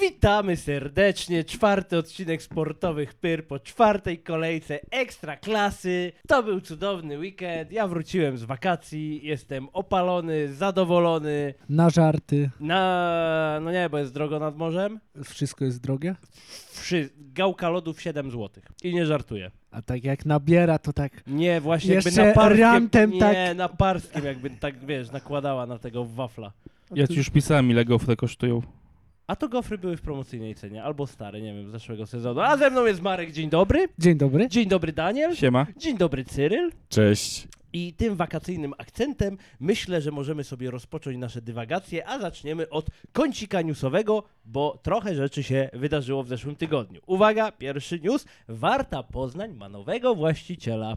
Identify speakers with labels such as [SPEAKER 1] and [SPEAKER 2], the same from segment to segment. [SPEAKER 1] Witamy serdecznie. Czwarty odcinek sportowych pyr po czwartej kolejce ekstra klasy. To był cudowny weekend. Ja wróciłem z wakacji. Jestem opalony, zadowolony.
[SPEAKER 2] na żarty.
[SPEAKER 1] Na. No nie, bo jest drogo nad morzem.
[SPEAKER 2] Wszystko jest drogie.
[SPEAKER 1] Wszy... Gałka lodów 7 zł. I nie żartuję.
[SPEAKER 2] A tak jak nabiera, to tak.
[SPEAKER 1] Nie, właśnie jakby
[SPEAKER 2] Jeszcze
[SPEAKER 1] na parskiem,
[SPEAKER 2] rantem
[SPEAKER 1] nie,
[SPEAKER 2] tak-
[SPEAKER 1] na parskim jakby tak wiesz, nakładała na tego wafla.
[SPEAKER 3] Ja ci już pisałem, ile gofry kosztują.
[SPEAKER 1] A to gofry były w promocyjnej cenie, albo stare, nie wiem, z zeszłego sezonu. A ze mną jest Marek, dzień dobry.
[SPEAKER 2] Dzień dobry.
[SPEAKER 1] Dzień dobry Daniel.
[SPEAKER 3] Siema.
[SPEAKER 1] Dzień dobry Cyryl.
[SPEAKER 4] Cześć.
[SPEAKER 1] I tym wakacyjnym akcentem myślę, że możemy sobie rozpocząć nasze dywagacje, a zaczniemy od kącika newsowego, bo trochę rzeczy się wydarzyło w zeszłym tygodniu. Uwaga, pierwszy news. Warta Poznań ma nowego właściciela.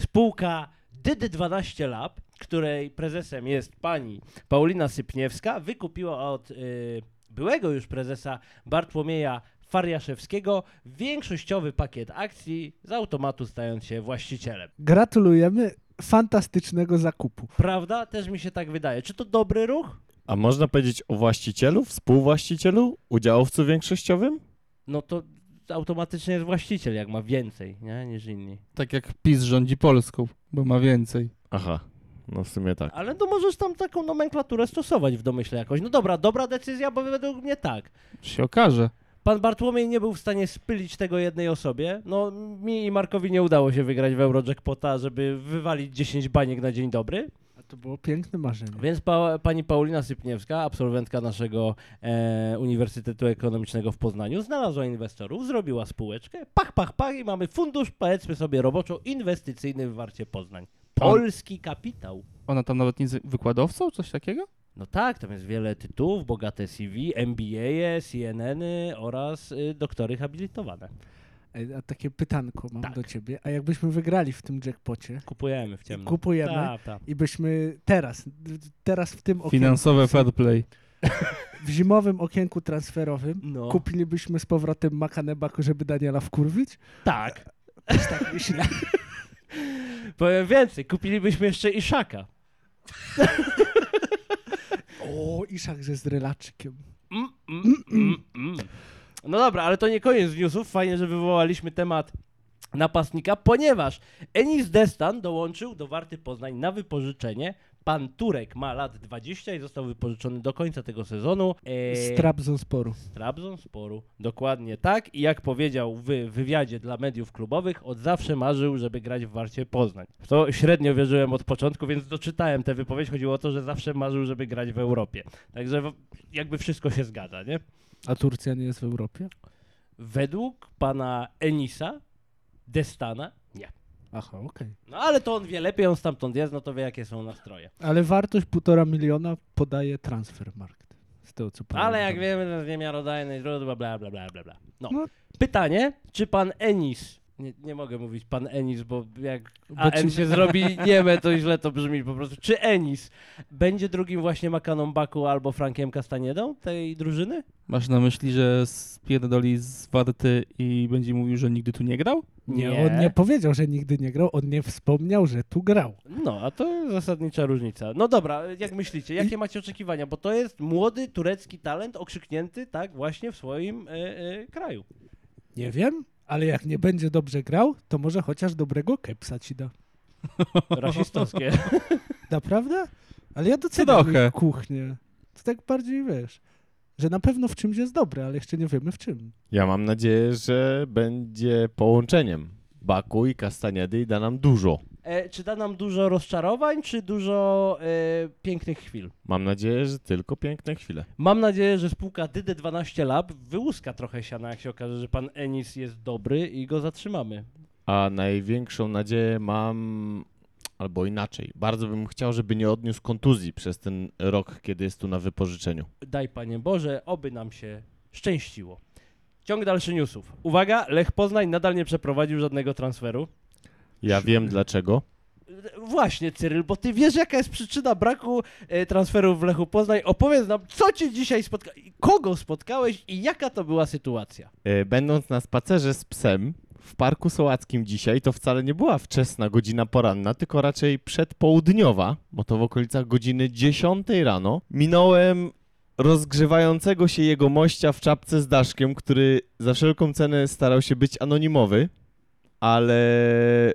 [SPEAKER 1] Spółka DD12 Lab, której prezesem jest pani Paulina Sypniewska, wykupiła od y, byłego już prezesa Bartłomieja Fariaszewskiego większościowy pakiet akcji, z automatu stając się właścicielem.
[SPEAKER 2] Gratulujemy fantastycznego zakupu.
[SPEAKER 1] Prawda? Też mi się tak wydaje. Czy to dobry ruch?
[SPEAKER 4] A można powiedzieć o właścicielu, współwłaścicielu, udziałowcu większościowym?
[SPEAKER 1] No to automatycznie jest właściciel, jak ma więcej, nie? Niż inni.
[SPEAKER 3] Tak jak PiS rządzi Polską, bo ma więcej.
[SPEAKER 4] Aha, no w sumie tak.
[SPEAKER 1] Ale no możesz tam taką nomenklaturę stosować w domyśle jakoś. No dobra, dobra decyzja, bo według mnie tak.
[SPEAKER 3] Się okaże.
[SPEAKER 1] Pan Bartłomiej nie był w stanie spylić tego jednej osobie. No mi i Markowi nie udało się wygrać w Eurojackpota, żeby wywalić 10 baniek na dzień dobry.
[SPEAKER 2] A to było piękne marzenie.
[SPEAKER 1] Więc pa, pani Paulina Sypniewska, absolwentka naszego e, Uniwersytetu Ekonomicznego w Poznaniu, znalazła inwestorów, zrobiła spółeczkę, pach, pach, pach i mamy fundusz, powiedzmy sobie roboczo, inwestycyjny w Warcie Poznań. Polski kapitał.
[SPEAKER 3] Ona tam nawet nie jest wykładowcą, coś takiego?
[SPEAKER 1] No tak, tam jest wiele tytułów, bogate CV, MBA, CNN-y oraz y, doktory habilitowane.
[SPEAKER 2] Ej, A takie pytanko mam
[SPEAKER 1] Tak.
[SPEAKER 2] do ciebie. A jakbyśmy wygrali w tym jackpocie
[SPEAKER 1] Kupujemy w ciemno. Tak.
[SPEAKER 2] Kupujemy.
[SPEAKER 1] Ta, ta.
[SPEAKER 2] i byśmy teraz, teraz w tym okienku,
[SPEAKER 3] Finansowe fair play.
[SPEAKER 2] w zimowym okienku transferowym
[SPEAKER 1] No,
[SPEAKER 2] kupilibyśmy z powrotem Makaneba, żeby Daniela wkurwić?
[SPEAKER 1] tak.
[SPEAKER 2] Też tak myślę.
[SPEAKER 1] Powiem więcej, kupilibyśmy jeszcze Iszaka.
[SPEAKER 2] O, Iszak, że z relaczykiem.
[SPEAKER 1] Mm, mm, mm, mm. No dobra, ale to nie koniec newsów. Fajnie, że wywołaliśmy temat napastnika, ponieważ Enis Destan dołączył do Warty Poznań na wypożyczenie. Pan Turek ma lat 20 i został wypożyczony do końca tego sezonu. Eee,
[SPEAKER 2] Z Trabzonsporu.
[SPEAKER 1] z Trabzonsporu. Dokładnie tak. I jak powiedział w wywiadzie dla mediów klubowych, od zawsze marzył, żeby grać w Warcie Poznań. W to średnio wierzyłem od początku, więc doczytałem tę wypowiedź. Chodziło o to, że zawsze marzył, żeby grać w Europie. Także w- jakby wszystko się zgadza, nie?
[SPEAKER 2] A Turcja nie jest w Europie?
[SPEAKER 1] Według pana Enisa Destana nie.
[SPEAKER 2] Aha, okej.
[SPEAKER 1] No ale to on wie lepiej, on stamtąd jest, no to wie jakie są nastroje.
[SPEAKER 2] Ale wartość półtora miliona podaje Transfermarkt. Z tego co pamiętam.
[SPEAKER 1] Ale jak wiemy, to jest niemiarodajne źródła, bla, bla, bla, bla, bla. No.
[SPEAKER 2] No.
[SPEAKER 1] Pytanie, czy pan Enis, nie, nie mogę mówić pan Enis, bo jak
[SPEAKER 2] Bo
[SPEAKER 1] AN
[SPEAKER 2] ci-
[SPEAKER 1] się zrobi nieme, to źle to brzmi po prostu. Czy Enis będzie drugim właśnie Makaną Baku albo Frankiem Kastaniedą tej drużyny?
[SPEAKER 3] Masz na myśli, że spierdoli z Warty i będzie mówił, że nigdy tu nie grał?
[SPEAKER 2] Nie, on nie powiedział, że nigdy nie grał, on nie wspomniał, że tu grał.
[SPEAKER 1] No, a to zasadnicza różnica. No dobra, jak myślicie, jakie macie oczekiwania? Bo to jest młody turecki talent okrzyknięty, tak, właśnie w swoim e, e, kraju.
[SPEAKER 2] Nie wiem, ale jak nie będzie dobrze grał, to może chociaż dobrego kepsa ci da.
[SPEAKER 1] Rasistowskie.
[SPEAKER 2] Naprawdę? Ale ja doceniam
[SPEAKER 3] Trochę.
[SPEAKER 2] ich kuchnię. To tak bardziej wiesz, że na pewno w czymś jest dobry, ale jeszcze nie wiemy w czym.
[SPEAKER 4] Ja mam nadzieję, że będzie połączeniem Baku i Kastaniedy i da nam dużo.
[SPEAKER 1] E, czy da nam dużo rozczarowań, czy dużo e, pięknych chwil?
[SPEAKER 4] Mam nadzieję, że tylko piękne chwile.
[SPEAKER 1] Mam nadzieję, że spółka DD12 Lab wyłuska trochę siana, jak się okaże, że pan Enis jest dobry i go zatrzymamy.
[SPEAKER 4] A największą nadzieję mam, albo inaczej, bardzo bym chciał, żeby nie odniósł kontuzji przez ten rok, kiedy jest tu na wypożyczeniu.
[SPEAKER 1] Daj Panie Boże, oby nam się szczęściło. Ciąg dalszy newsów. Uwaga, Lech Poznań nadal nie przeprowadził żadnego transferu.
[SPEAKER 4] Ja wiem dlaczego.
[SPEAKER 1] Właśnie, Cyryl, bo ty wiesz, jaka jest przyczyna braku e, transferów w Lechu Poznań. Opowiedz nam, co cię dzisiaj spotkało, kogo spotkałeś i jaka to była sytuacja.
[SPEAKER 4] E, Będąc na spacerze z psem w Parku Sołackim dzisiaj, to wcale nie była wczesna godzina poranna, tylko raczej przedpołudniowa, bo to w okolicach godziny 10 rano, minąłem rozgrzewającego się jego mościa w czapce z daszkiem, który za wszelką cenę starał się być anonimowy, ale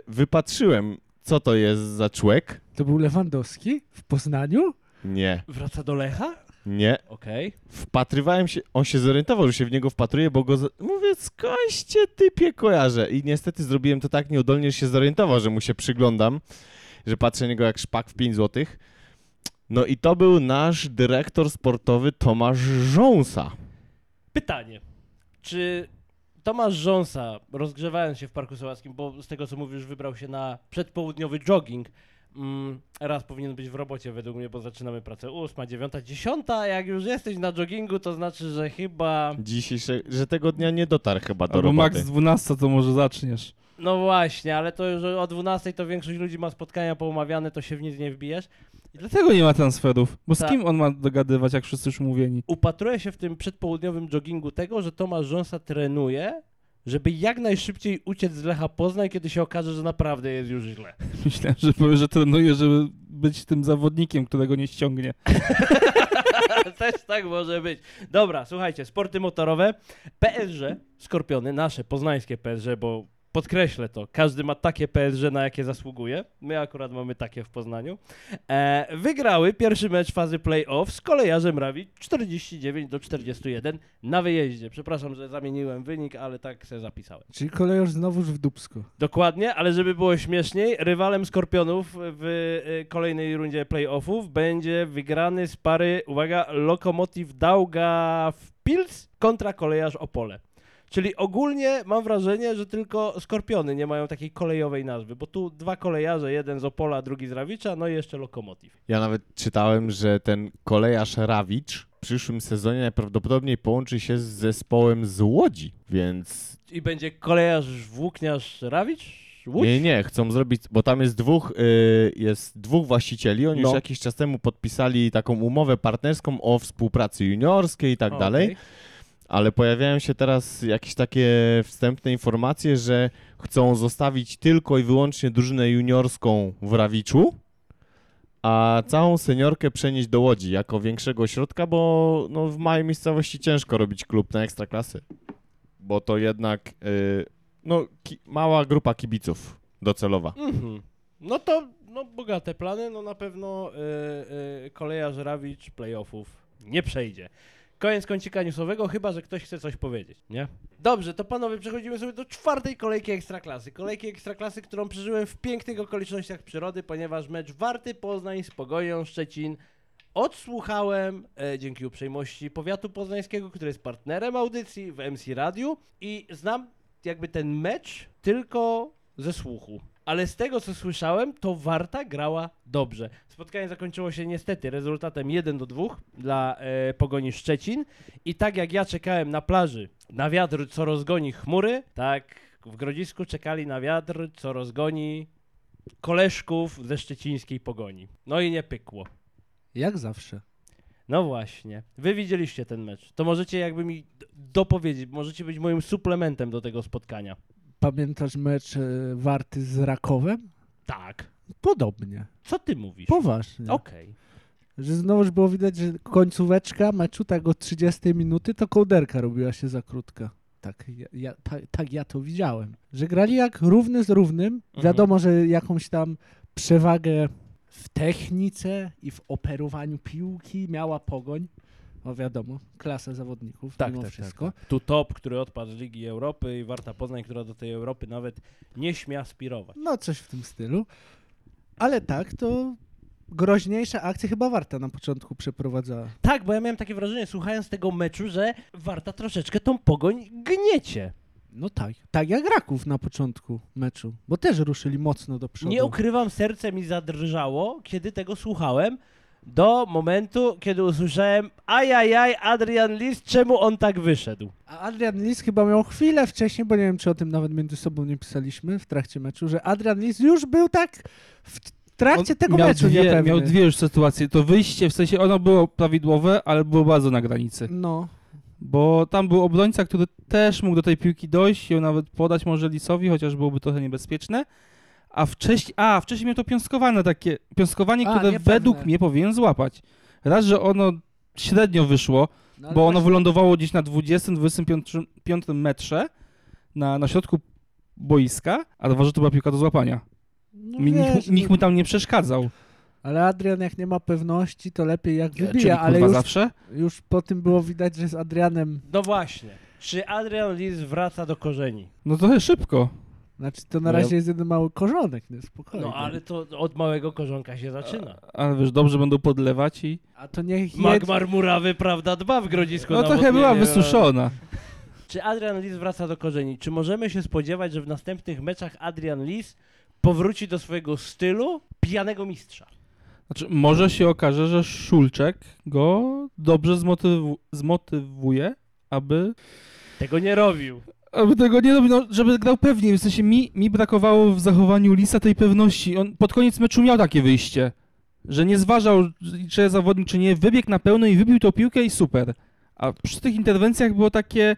[SPEAKER 4] wypatrzyłem, co to jest za człek.
[SPEAKER 2] To był Lewandowski w Poznaniu?
[SPEAKER 4] Nie,
[SPEAKER 1] Wraca do Lecha?
[SPEAKER 4] nie.
[SPEAKER 1] Okej.
[SPEAKER 4] Wpatrywałem się, on się zorientował, że się w niego wpatruje, bo go. Za... Mówię, skądś cię typie kojarzę. I niestety zrobiłem to tak nieudolnie, że się zorientował, że mu się przyglądam, że patrzę na niego jak szpak w 5 złotych. No i to był nasz dyrektor sportowy Tomasz Rząsa.
[SPEAKER 1] Pytanie. Czy Tomasz Rząsa, rozgrzewając się w Parku Sołackim, bo z tego co mówisz, wybrał się na przedpołudniowy jogging, mm, raz powinien być w robocie według mnie, bo zaczynamy pracę 8, 9, 10, a jak już jesteś na joggingu, to znaczy, że chyba...
[SPEAKER 4] Dzisiejsze, że tego dnia nie dotarł chyba do
[SPEAKER 3] Albo max
[SPEAKER 4] roboty.
[SPEAKER 3] 12 to może zaczniesz.
[SPEAKER 1] No właśnie, ale to już o 12 to większość ludzi ma spotkania poumawiane, to się w nic nie wbijesz.
[SPEAKER 3] I dlatego nie ma transferów. Bo z
[SPEAKER 1] Tak.
[SPEAKER 3] kim on ma dogadywać, jak wszyscy już mówieni?
[SPEAKER 1] Upatruję się w tym przedpołudniowym joggingu tego, że Tomasz Rząsa trenuje, żeby jak najszybciej uciec z Lecha Poznań, kiedy się okaże, że naprawdę jest już źle.
[SPEAKER 3] Myślałem, że powie, że trenuje, żeby być tym zawodnikiem, którego nie ściągnie.
[SPEAKER 1] Też tak może być. Dobra, słuchajcie, sporty motorowe. PSG, Skorpiony, nasze poznańskie PSG, bo podkreślę to, każdy ma takie PSG, na jakie zasługuje. My akurat mamy takie w Poznaniu. E, wygrały pierwszy mecz fazy play-off z kolejarzem Rawi 49 do 41 na wyjeździe. Przepraszam, że zamieniłem wynik, ale tak se zapisałem.
[SPEAKER 2] Czyli kolejorz znowuż w Dubsku.
[SPEAKER 1] Dokładnie, ale żeby było śmieszniej, rywalem Skorpionów w y, kolejnej rundzie playoffów będzie wygrany z pary, uwaga, Lokomotiv Dauga w Pils kontra Kolejarz Opole. Czyli ogólnie mam wrażenie, że tylko Skorpiony nie mają takiej kolejowej nazwy, bo tu dwa kolejarze, jeden z Opola, drugi z Rawicza, no i jeszcze Lokomotiv.
[SPEAKER 4] Ja nawet czytałem, że ten kolejarz Rawicz w przyszłym sezonie najprawdopodobniej połączy się z zespołem z Łodzi, więc
[SPEAKER 1] I będzie Kolejarz Włókniarz Rawicz? Łódź?
[SPEAKER 4] nie, nie, chcą zrobić, bo tam jest dwóch, y, jest dwóch właścicieli, oni
[SPEAKER 1] No.
[SPEAKER 4] już jakiś czas temu podpisali taką umowę partnerską o współpracy juniorskiej i tak
[SPEAKER 1] O,
[SPEAKER 4] dalej,
[SPEAKER 1] okej.
[SPEAKER 4] ale pojawiają się teraz jakieś takie wstępne informacje, że chcą zostawić tylko i wyłącznie drużynę juniorską w Rawiczu, a całą seniorkę przenieść do Łodzi jako większego ośrodka, bo no, w małej miejscowości ciężko robić klub na ekstraklasy, bo to jednak y, no, ki- mała grupa kibiców docelowa.
[SPEAKER 1] Mhm. No to no, bogate plany, no na pewno y, y, kolejarz Rawicz playoffów nie przejdzie. Koniec kącika newsowego, chyba że ktoś chce coś powiedzieć, nie? Dobrze, to panowie przechodzimy sobie do czwartej kolejki Ekstraklasy. Kolejki Ekstraklasy, którą przeżyłem w pięknych okolicznościach przyrody, ponieważ mecz Warty Poznań z Pogonią Szczecin odsłuchałem e, dzięki uprzejmości powiatu poznańskiego, który jest partnerem audycji w MC Radiu i znam jakby ten mecz tylko ze słuchu. Ale z tego co słyszałem, to Warta grała dobrze. Spotkanie zakończyło się niestety rezultatem 1 do 2 dla e, Pogoni Szczecin i tak jak ja czekałem na plaży na wiatr, co rozgoni chmury, tak w Grodzisku czekali na wiatr, co rozgoni koleżków ze szczecińskiej Pogoni. No i nie pykło.
[SPEAKER 2] Jak zawsze.
[SPEAKER 1] No właśnie. Wy widzieliście ten mecz. To możecie jakby mi d- dopowiedzieć, możecie być moim suplementem do tego spotkania.
[SPEAKER 2] Pamiętasz mecz e, Warty z Rakowem?
[SPEAKER 1] Tak.
[SPEAKER 2] Podobnie.
[SPEAKER 1] Co ty mówisz?
[SPEAKER 2] Poważnie.
[SPEAKER 1] Okej.
[SPEAKER 2] Że znowuż było widać, że końcóweczka meczu tak od 30 minuty to kołderka robiła się za krótka. Tak ja, ja, ta, tak ja to widziałem. Że grali jak równy z równym.
[SPEAKER 1] Mhm.
[SPEAKER 2] Wiadomo, że jakąś tam przewagę w technice i w operowaniu piłki miała pogoń. No wiadomo, klasa zawodników, tak, mimo wszystko.
[SPEAKER 1] Tu top, który odpadł z Ligi Europy i Warta Poznań, która do tej Europy nawet nie śmie aspirować.
[SPEAKER 2] No coś w tym stylu. Ale tak, to groźniejsze akcje chyba Warta na początku przeprowadzała.
[SPEAKER 1] Tak, bo ja miałem takie wrażenie, słuchając tego meczu, że Warta troszeczkę tą pogoń gniecie.
[SPEAKER 2] No tak, tak jak Raków na początku meczu, bo też ruszyli mocno do przodu.
[SPEAKER 1] Nie ukrywam, serce mi zadrżało, kiedy tego słuchałem, do momentu, kiedy usłyszałem ajajaj, Adrian Lis, czemu on tak wyszedł?
[SPEAKER 2] A Adrian Lis chyba miał chwilę wcześniej, bo nie wiem, czy o tym nawet między sobą nie pisaliśmy w trakcie meczu, że Adrian Lis już był tak w trakcie
[SPEAKER 3] On
[SPEAKER 2] tego
[SPEAKER 3] miał
[SPEAKER 2] meczu
[SPEAKER 3] dwie,
[SPEAKER 2] niepewny.
[SPEAKER 3] Miał dwie już sytuacje. To wyjście, w sensie ono było prawidłowe, ale było bardzo na granicy.
[SPEAKER 2] No,
[SPEAKER 3] Bo tam był obrońca, który też mógł do tej piłki dojść i ją nawet podać może Lisowi, chociaż byłoby trochę niebezpieczne. A wcześniej, a wcześniej miał to piąskowane takie, piąskowanie,
[SPEAKER 2] A,
[SPEAKER 3] które
[SPEAKER 2] niepewne.
[SPEAKER 3] według mnie powinien złapać. Raz, że ono średnio wyszło,
[SPEAKER 2] No, ale
[SPEAKER 3] bo ono
[SPEAKER 2] właśnie-
[SPEAKER 3] wylądowało gdzieś na 20-25 metrze na, na środku boiska, a dwa, że to była piłka do złapania.
[SPEAKER 2] no
[SPEAKER 3] Mi, nikt,
[SPEAKER 2] wiesz,
[SPEAKER 3] nikt
[SPEAKER 2] no-
[SPEAKER 3] mu tam nie przeszkadzał.
[SPEAKER 2] Ale Adrian jak nie ma pewności, to lepiej jak wybija,
[SPEAKER 3] E, Czyli,
[SPEAKER 2] ale
[SPEAKER 3] kurwa,
[SPEAKER 2] już,
[SPEAKER 3] zawsze?
[SPEAKER 2] już po tym było widać, że z Adrianem,
[SPEAKER 1] No właśnie. Czy Adrian Lis wraca do korzeni?
[SPEAKER 3] No trochę szybko.
[SPEAKER 2] znaczy to na
[SPEAKER 4] No ja-
[SPEAKER 2] razie jest jeden mały korzonek, nie, spokojnie.
[SPEAKER 1] No ale to od małego korzonka się zaczyna.
[SPEAKER 3] A- Ale wiesz, dobrze będą podlewać i...
[SPEAKER 2] A to niech jedź...
[SPEAKER 1] Magmar murawy, prawda, dba w grodzisku.
[SPEAKER 3] No trochę
[SPEAKER 1] nawodnienie,
[SPEAKER 3] była
[SPEAKER 1] ale-
[SPEAKER 3] wysuszona.
[SPEAKER 1] Czy Adrian Lis wraca do korzeni? Czy możemy się spodziewać, że w następnych meczach Adrian Lis powróci do swojego stylu pijanego mistrza?
[SPEAKER 3] Znaczy, może się okaże, że Szulczek go dobrze zmotywu- zmotywuje, aby,
[SPEAKER 1] Tego nie robił.
[SPEAKER 3] aby tego nie robił, no, żeby grał pewniej. W sensie mi, mi brakowało w zachowaniu Lisa tej pewności. On pod koniec meczu miał takie wyjście, że nie zważał, czy jest zawodnik, czy nie, wybiegł na pełno i wybił tą piłkę i super. A przy tych interwencjach było takie,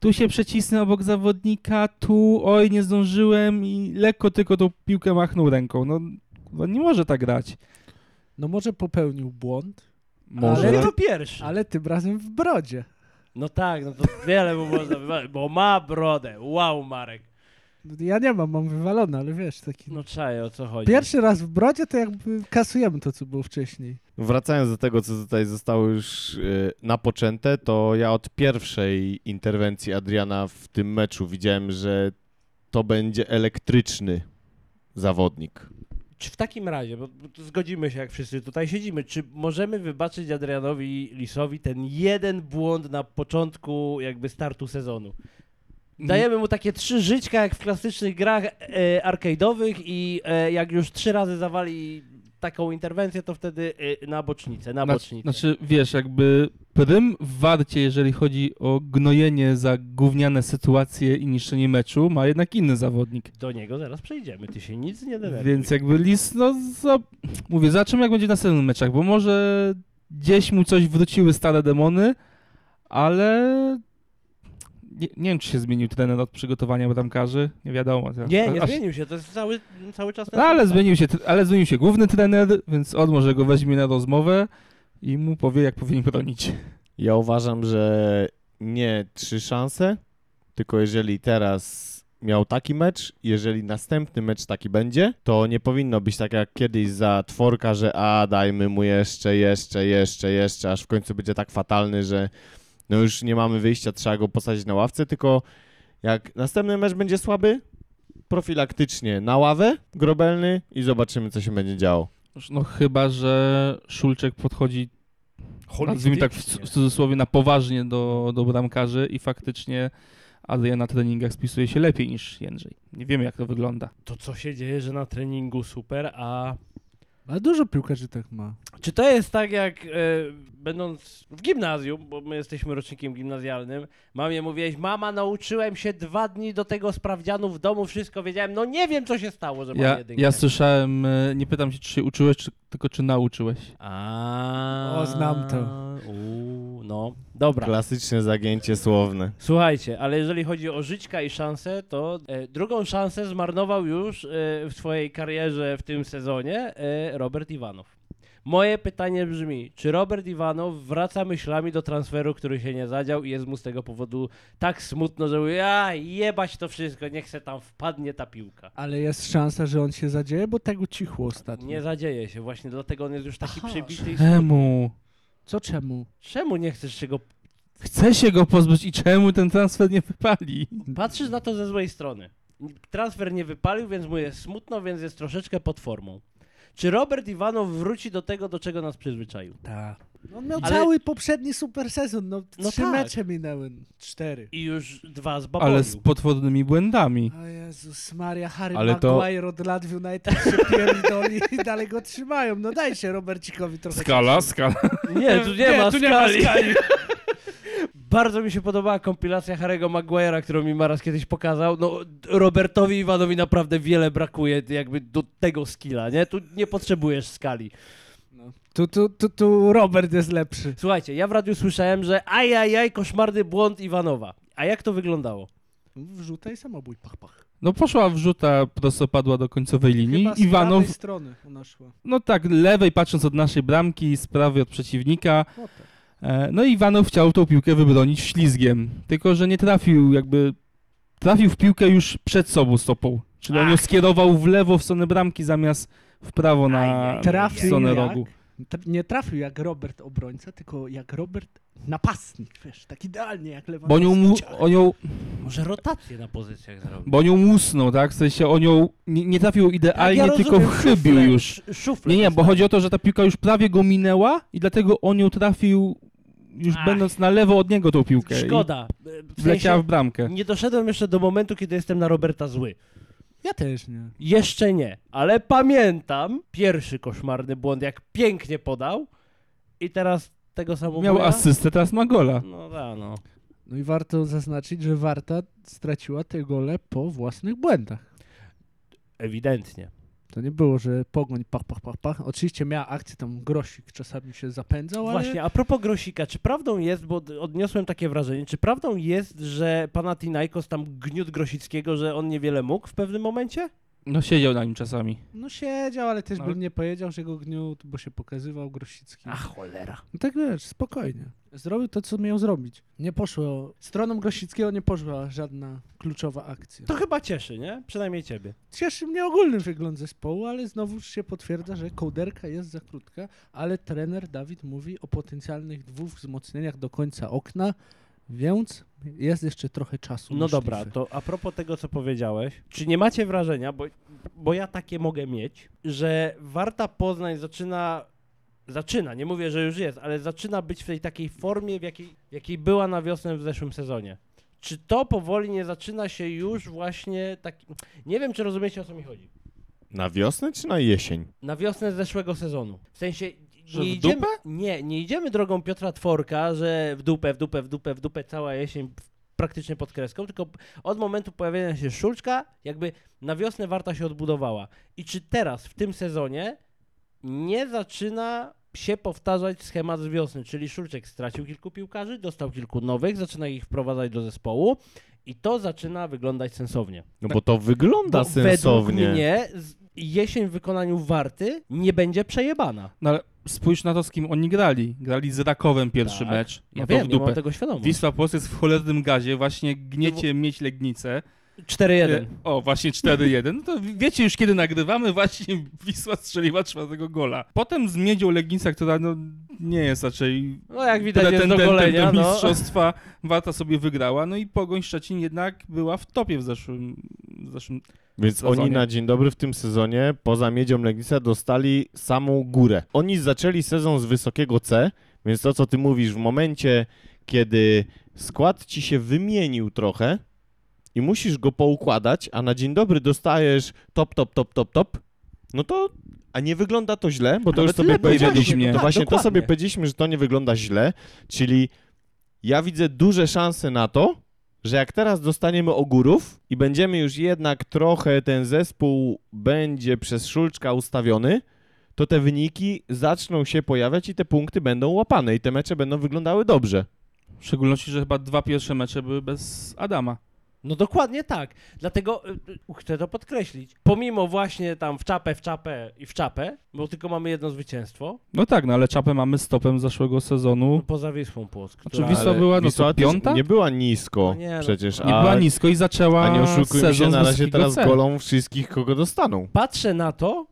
[SPEAKER 3] tu się przecisnę obok zawodnika, tu, oj, nie zdążyłem i lekko tylko tą piłkę machnął ręką. No, no nie może tak grać.
[SPEAKER 2] No może popełnił błąd,
[SPEAKER 1] Ale,
[SPEAKER 2] Ale-
[SPEAKER 1] to pierwszy.
[SPEAKER 2] ale tym razem w brodzie.
[SPEAKER 1] No tak, no to wiele mu można wybawić, bo ma brodę. Wow, Marek.
[SPEAKER 2] No Ja nie mam, mam wywalone, ale wiesz, taki...
[SPEAKER 1] No czaję, o co chodzi.
[SPEAKER 2] Pierwszy raz w brodzie to jakby kasujemy to, co było wcześniej.
[SPEAKER 4] Wracając do tego, co tutaj zostało już y, napoczęte, to ja od pierwszej interwencji Adriana w tym meczu widziałem, że to będzie elektryczny zawodnik.
[SPEAKER 1] Czy w takim razie, bo bo tu zgodzimy się, jak wszyscy tutaj siedzimy, czy możemy wybaczyć Adrianowi Lisowi ten jeden błąd na początku jakby startu sezonu?
[SPEAKER 3] Mhm.
[SPEAKER 1] Dajemy mu takie trzy żyćka jak w klasycznych grach e, arcade'owych i e, jak już trzy razy zawali taką interwencję, to wtedy e, na bocznicę, na bocznicę.
[SPEAKER 3] Znaczy, wiesz, jakby prym w warcie, jeżeli chodzi o gnojenie za gówniane sytuacje i niszczenie meczu, ma jednak inny zawodnik.
[SPEAKER 1] Do niego zaraz przejdziemy, ty się nic nie denerwuj.
[SPEAKER 3] Więc jakby Lis, no za... mówię, zobaczymy jak będzie w następnych meczach, bo może gdzieś mu coś wróciły stare demony, ale nie, nie wiem, czy się zmienił trener od przygotowania bramkarzy, nie wiadomo. to-
[SPEAKER 1] Nie, nie
[SPEAKER 3] aż-
[SPEAKER 1] zmienił się, to jest cały, cały czas ten
[SPEAKER 3] No, ale
[SPEAKER 1] sam.
[SPEAKER 3] zmienił, się, tre- ale zmienił się główny trener, więc on może go weźmie na rozmowę i mu powie, jak powinien bronić.
[SPEAKER 4] Ja uważam, że nie trzy szanse, tylko jeżeli teraz miał taki mecz, jeżeli następny mecz taki będzie, to nie powinno być tak jak kiedyś za tworka, że a dajmy mu jeszcze, jeszcze, jeszcze, jeszcze, aż w końcu będzie tak fatalny, że no już nie mamy wyjścia, trzeba go posadzić na ławce, tylko jak następny mecz będzie słaby, profilaktycznie na ławę, grobelny i zobaczymy, co się będzie działo.
[SPEAKER 3] No chyba, że Szulczek podchodzi, nazwijmy tak w, cu- w cudzysłowie, na poważnie do, do bramkarzy i faktycznie Adrian na treningach spisuje się lepiej niż Jędrzej. Nie wiemy, jak to wygląda.
[SPEAKER 1] To co się dzieje, że na treningu super, a
[SPEAKER 2] A dużo piłkarzy tak ma.
[SPEAKER 1] Czy to jest tak, jak e, będąc w gimnazjum, bo my jesteśmy rocznikiem gimnazjalnym, mamie mówiłeś, mama, nauczyłem się dwa dni do tego sprawdzianu w domu, wszystko wiedziałem, no nie wiem, co się stało, że mam
[SPEAKER 3] Ja,
[SPEAKER 1] jedynkę.
[SPEAKER 3] ja słyszałem, e, nie pytam się, czy się uczyłeś, czy, tylko czy nauczyłeś.
[SPEAKER 1] A,
[SPEAKER 2] O, znam to.
[SPEAKER 1] Uuu, no, dobra.
[SPEAKER 4] Klasyczne zagięcie słowne.
[SPEAKER 1] Słuchajcie, ale jeżeli chodzi o Żyćka i szansę, to e, drugą szansę zmarnował już e, w swojej karierze w tym sezonie e, Robert Iwanow. Moje pytanie brzmi, czy Robert Iwanow wraca myślami do transferu, który się nie zadział i jest mu z tego powodu tak smutno, że mówi, a jebać to wszystko, niech se tam wpadnie ta piłka.
[SPEAKER 2] Ale jest szansa, że on się zadzieje, bo tego cichło ostatnio.
[SPEAKER 1] Nie zadzieje się, właśnie dlatego on jest już taki
[SPEAKER 2] Aha.
[SPEAKER 1] przybity. i smutny.
[SPEAKER 3] Czemu?
[SPEAKER 2] Co czemu?
[SPEAKER 1] Czemu nie chcesz się go...
[SPEAKER 3] Chce się go pozbyć i czemu ten transfer nie wypali?
[SPEAKER 1] Patrzysz na to ze złej strony. Transfer nie wypalił, więc mu jest smutno, więc jest troszeczkę pod formą. Czy Robert Iwanow wróci do tego, do czego nas przyzwyczaił?
[SPEAKER 2] Tak. On miał
[SPEAKER 1] Ale-
[SPEAKER 2] cały poprzedni super sezon, no,
[SPEAKER 1] No
[SPEAKER 2] trzy
[SPEAKER 1] tak.
[SPEAKER 2] mecze minęły, cztery.
[SPEAKER 1] I już dwa z
[SPEAKER 3] Ale z
[SPEAKER 1] babą.
[SPEAKER 3] potwornymi błędami.
[SPEAKER 2] O Jezus Maria, Harry
[SPEAKER 4] Ale to-
[SPEAKER 2] Maguire od lat w United się pierdoli i dalej go trzymają. No daj się Robercikowi trochę.
[SPEAKER 3] skala.
[SPEAKER 1] Nie, tu nie, ma
[SPEAKER 3] tu nie ma
[SPEAKER 1] skali. Bardzo mi się podobała kompilacja Harry'ego Maguire'a, którą mi Maras kiedyś pokazał. No, Robertowi Iwanowi naprawdę wiele brakuje jakby do tego skilla, nie? Tu nie potrzebujesz skali.
[SPEAKER 2] Tu, tu, tu, tu Robert jest lepszy.
[SPEAKER 1] Słuchajcie, ja w radiu słyszałem, że ajajaj, koszmarny błąd Iwanowa. A jak to wyglądało?
[SPEAKER 2] Wrzuta i samobój, pach, pach.
[SPEAKER 3] No poszła wrzuta, prostopadła do końcowej linii.
[SPEAKER 2] Chyba z
[SPEAKER 3] Iwanow
[SPEAKER 2] prawej strony ona szła.
[SPEAKER 3] No tak, lewej patrząc od naszej bramki, z prawej od przeciwnika.
[SPEAKER 2] O, tak.
[SPEAKER 3] E, No i Iwanow chciał tą piłkę wybronić ślizgiem, tylko że nie trafił jakby, trafił w piłkę już przed sobą stopą, czyli on ją
[SPEAKER 1] Ach.
[SPEAKER 3] skierował w lewo w stronę bramki zamiast w prawo na
[SPEAKER 1] Ajaj.
[SPEAKER 3] w
[SPEAKER 1] Trafił
[SPEAKER 3] stronę
[SPEAKER 2] jak?
[SPEAKER 3] rogu.
[SPEAKER 2] Tr- Nie trafił jak Robert obrońca, tylko jak Robert napastnik, wiesz, tak idealnie jak Lewandowski.
[SPEAKER 3] Bo
[SPEAKER 1] No
[SPEAKER 3] um- nią, mu- o nią,
[SPEAKER 1] Może rotację na pozycjach zrobić.
[SPEAKER 3] bo nią musnął, tak? W sensie o nią nie, nie trafił
[SPEAKER 1] Tak,
[SPEAKER 3] idealnie,
[SPEAKER 1] ja
[SPEAKER 3] tylko
[SPEAKER 1] rozumiem,
[SPEAKER 3] chybił
[SPEAKER 1] szuflę,
[SPEAKER 3] już.
[SPEAKER 1] sz- Szuflę
[SPEAKER 3] Nie, nie, bo chodzi o to, że ta piłka już prawie go minęła i dlatego on ją trafił już
[SPEAKER 1] Ach.
[SPEAKER 3] będąc na lewo od niego tą piłkę. i
[SPEAKER 1] Szkoda. W
[SPEAKER 3] Wleciała
[SPEAKER 1] sensie,
[SPEAKER 3] w bramkę.
[SPEAKER 1] nie doszedłem jeszcze do momentu, kiedy jestem na Roberta zły.
[SPEAKER 2] Ja też nie.
[SPEAKER 1] Jeszcze nie, ale pamiętam pierwszy koszmarny błąd, jak pięknie podał i teraz tego samego.
[SPEAKER 3] Miał asystę, teraz ma gola.
[SPEAKER 1] No da, no.
[SPEAKER 2] No i warto zaznaczyć, że Warta straciła te gole po własnych błędach.
[SPEAKER 1] Ewidentnie.
[SPEAKER 2] To nie było, że pogoń pach, pach, pach, pach. Oczywiście miała akcję, tam Grosik czasami się zapędzał, ale...
[SPEAKER 1] Właśnie, a propos Grosika, czy prawdą jest, bo d- odniosłem takie wrażenie, czy prawdą jest, że Panathinaikos tam gniót Grosickiego, że on niewiele mógł w pewnym momencie?
[SPEAKER 3] No siedział na nim czasami.
[SPEAKER 2] No siedział, ale też
[SPEAKER 3] No.
[SPEAKER 2] bym nie powiedział, że go gniótł, bo się pokazywał Grosicki.
[SPEAKER 1] A cholera.
[SPEAKER 2] No tak wiesz, spokojnie. Zrobił to, co miał zrobić. Nie poszło... Stroną Grosickiego nie poszła żadna kluczowa akcja.
[SPEAKER 1] To chyba cieszy, nie? Przynajmniej ciebie.
[SPEAKER 2] Cieszy mnie ogólny wygląd zespołu, ale znowuż się potwierdza, że kołderka jest za krótka, ale trener Dawid mówi o potencjalnych dwóch wzmocnieniach do końca okna, więc jest jeszcze trochę czasu.
[SPEAKER 1] No
[SPEAKER 2] na
[SPEAKER 1] dobra,
[SPEAKER 2] szlify.
[SPEAKER 1] to a propos tego, co powiedziałeś, czy nie macie wrażenia, bo, bo ja takie mogę mieć, że Warta Poznań zaczyna, zaczyna, nie mówię, że już jest, ale zaczyna być w tej takiej formie, w jakiej, w jakiej była na wiosnę w zeszłym sezonie. Czy to powoli nie zaczyna się już właśnie tak... Nie wiem, czy rozumiecie, o co mi chodzi.
[SPEAKER 4] Na wiosnę czy na jesień?
[SPEAKER 1] Na wiosnę zeszłego sezonu. W sensie...
[SPEAKER 3] Że
[SPEAKER 1] nie
[SPEAKER 3] w
[SPEAKER 1] idziemy,
[SPEAKER 3] dupę?
[SPEAKER 1] Nie, nie idziemy drogą Piotra Tworka, że w dupę, w dupę, w dupę, w dupę cała jesień w- praktycznie pod kreską, tylko od momentu pojawienia się Szulczka, jakby na wiosnę Warta się odbudowała. I czy teraz, w tym sezonie, nie zaczyna się powtarzać schemat z wiosny, czyli Szulczek stracił kilku piłkarzy, dostał kilku nowych, zaczyna ich wprowadzać do zespołu i to zaczyna wyglądać sensownie.
[SPEAKER 4] No bo to wygląda
[SPEAKER 1] Tak. Bo
[SPEAKER 4] sensownie.
[SPEAKER 1] Według mnie z- jesień w wykonaniu Warty nie będzie przejebana.
[SPEAKER 3] No ale spójrz na to, z kim oni grali. Grali z Rakowem pierwszy
[SPEAKER 1] Tak.
[SPEAKER 3] mecz.
[SPEAKER 1] Ja
[SPEAKER 3] No to
[SPEAKER 1] wiem,
[SPEAKER 3] w
[SPEAKER 1] nie mam
[SPEAKER 3] dupę.
[SPEAKER 1] tego No świadomość.
[SPEAKER 3] Wisła Płock jest w cholernym gazie, właśnie gniecie mieć Legnicę.
[SPEAKER 1] 4-1.
[SPEAKER 3] E, O, właśnie 4-1. No to wiecie już kiedy nagrywamy, właśnie Wisła strzeliła czwartego gola. Potem z Miedzią Legnica, która no, nie jest raczej
[SPEAKER 1] No jak widać jest do golenia,
[SPEAKER 3] pretendentem do
[SPEAKER 1] no.
[SPEAKER 3] mistrzostwa, Warta sobie wygrała. No i Pogoń Szczecin jednak była w topie w zeszłym, w zeszłym
[SPEAKER 4] Więc
[SPEAKER 3] sezonie.
[SPEAKER 4] oni na dzień dobry w tym sezonie poza Miedzią Legnica dostali samą górę. Oni zaczęli sezon z wysokiego C, więc to co ty mówisz w momencie, kiedy skład ci się wymienił trochę i musisz go poukładać, a na dzień dobry dostajesz top, top, top, top, top, no to a nie wygląda to źle, bo to już
[SPEAKER 3] Nawet
[SPEAKER 4] sobie
[SPEAKER 3] lepiej
[SPEAKER 4] powiedzieliśmy.
[SPEAKER 3] właśnie,
[SPEAKER 4] To
[SPEAKER 1] tak,
[SPEAKER 4] No właśnie to
[SPEAKER 1] dokładnie.
[SPEAKER 4] sobie powiedzieliśmy, że to nie wygląda źle, czyli ja widzę duże szanse na to, że jak teraz dostaniemy ogórów i będziemy już jednak trochę ten zespół będzie przez Szulczka ustawiony, to te wyniki zaczną się pojawiać i te punkty będą łapane i te mecze będą wyglądały dobrze.
[SPEAKER 3] W szczególności, że chyba dwa pierwsze mecze były bez Adama.
[SPEAKER 1] No dokładnie tak. Dlatego y, y, chcę to podkreślić. Pomimo właśnie tam w czapę, w czapę i w czapę, bo tylko mamy jedno zwycięstwo,
[SPEAKER 3] No tak, no ale czapę mamy stopem zeszłego
[SPEAKER 1] no,
[SPEAKER 3] sezonu.
[SPEAKER 1] poza Wisłą Płock.
[SPEAKER 3] Znaczy, Wisła
[SPEAKER 4] Ale
[SPEAKER 3] była, no
[SPEAKER 4] Wisła
[SPEAKER 3] co,
[SPEAKER 4] też
[SPEAKER 3] piąta?
[SPEAKER 4] Nie była nisko
[SPEAKER 1] No nie, no.
[SPEAKER 4] przecież,
[SPEAKER 3] Nie
[SPEAKER 4] a,
[SPEAKER 3] była nisko i zaczęła
[SPEAKER 4] a nie oszukujmy się,
[SPEAKER 3] sezon
[SPEAKER 4] na
[SPEAKER 3] z
[SPEAKER 4] razie
[SPEAKER 3] wysokiego
[SPEAKER 4] teraz
[SPEAKER 3] C.
[SPEAKER 4] golą wszystkich, kogo dostaną.
[SPEAKER 1] Patrzę na to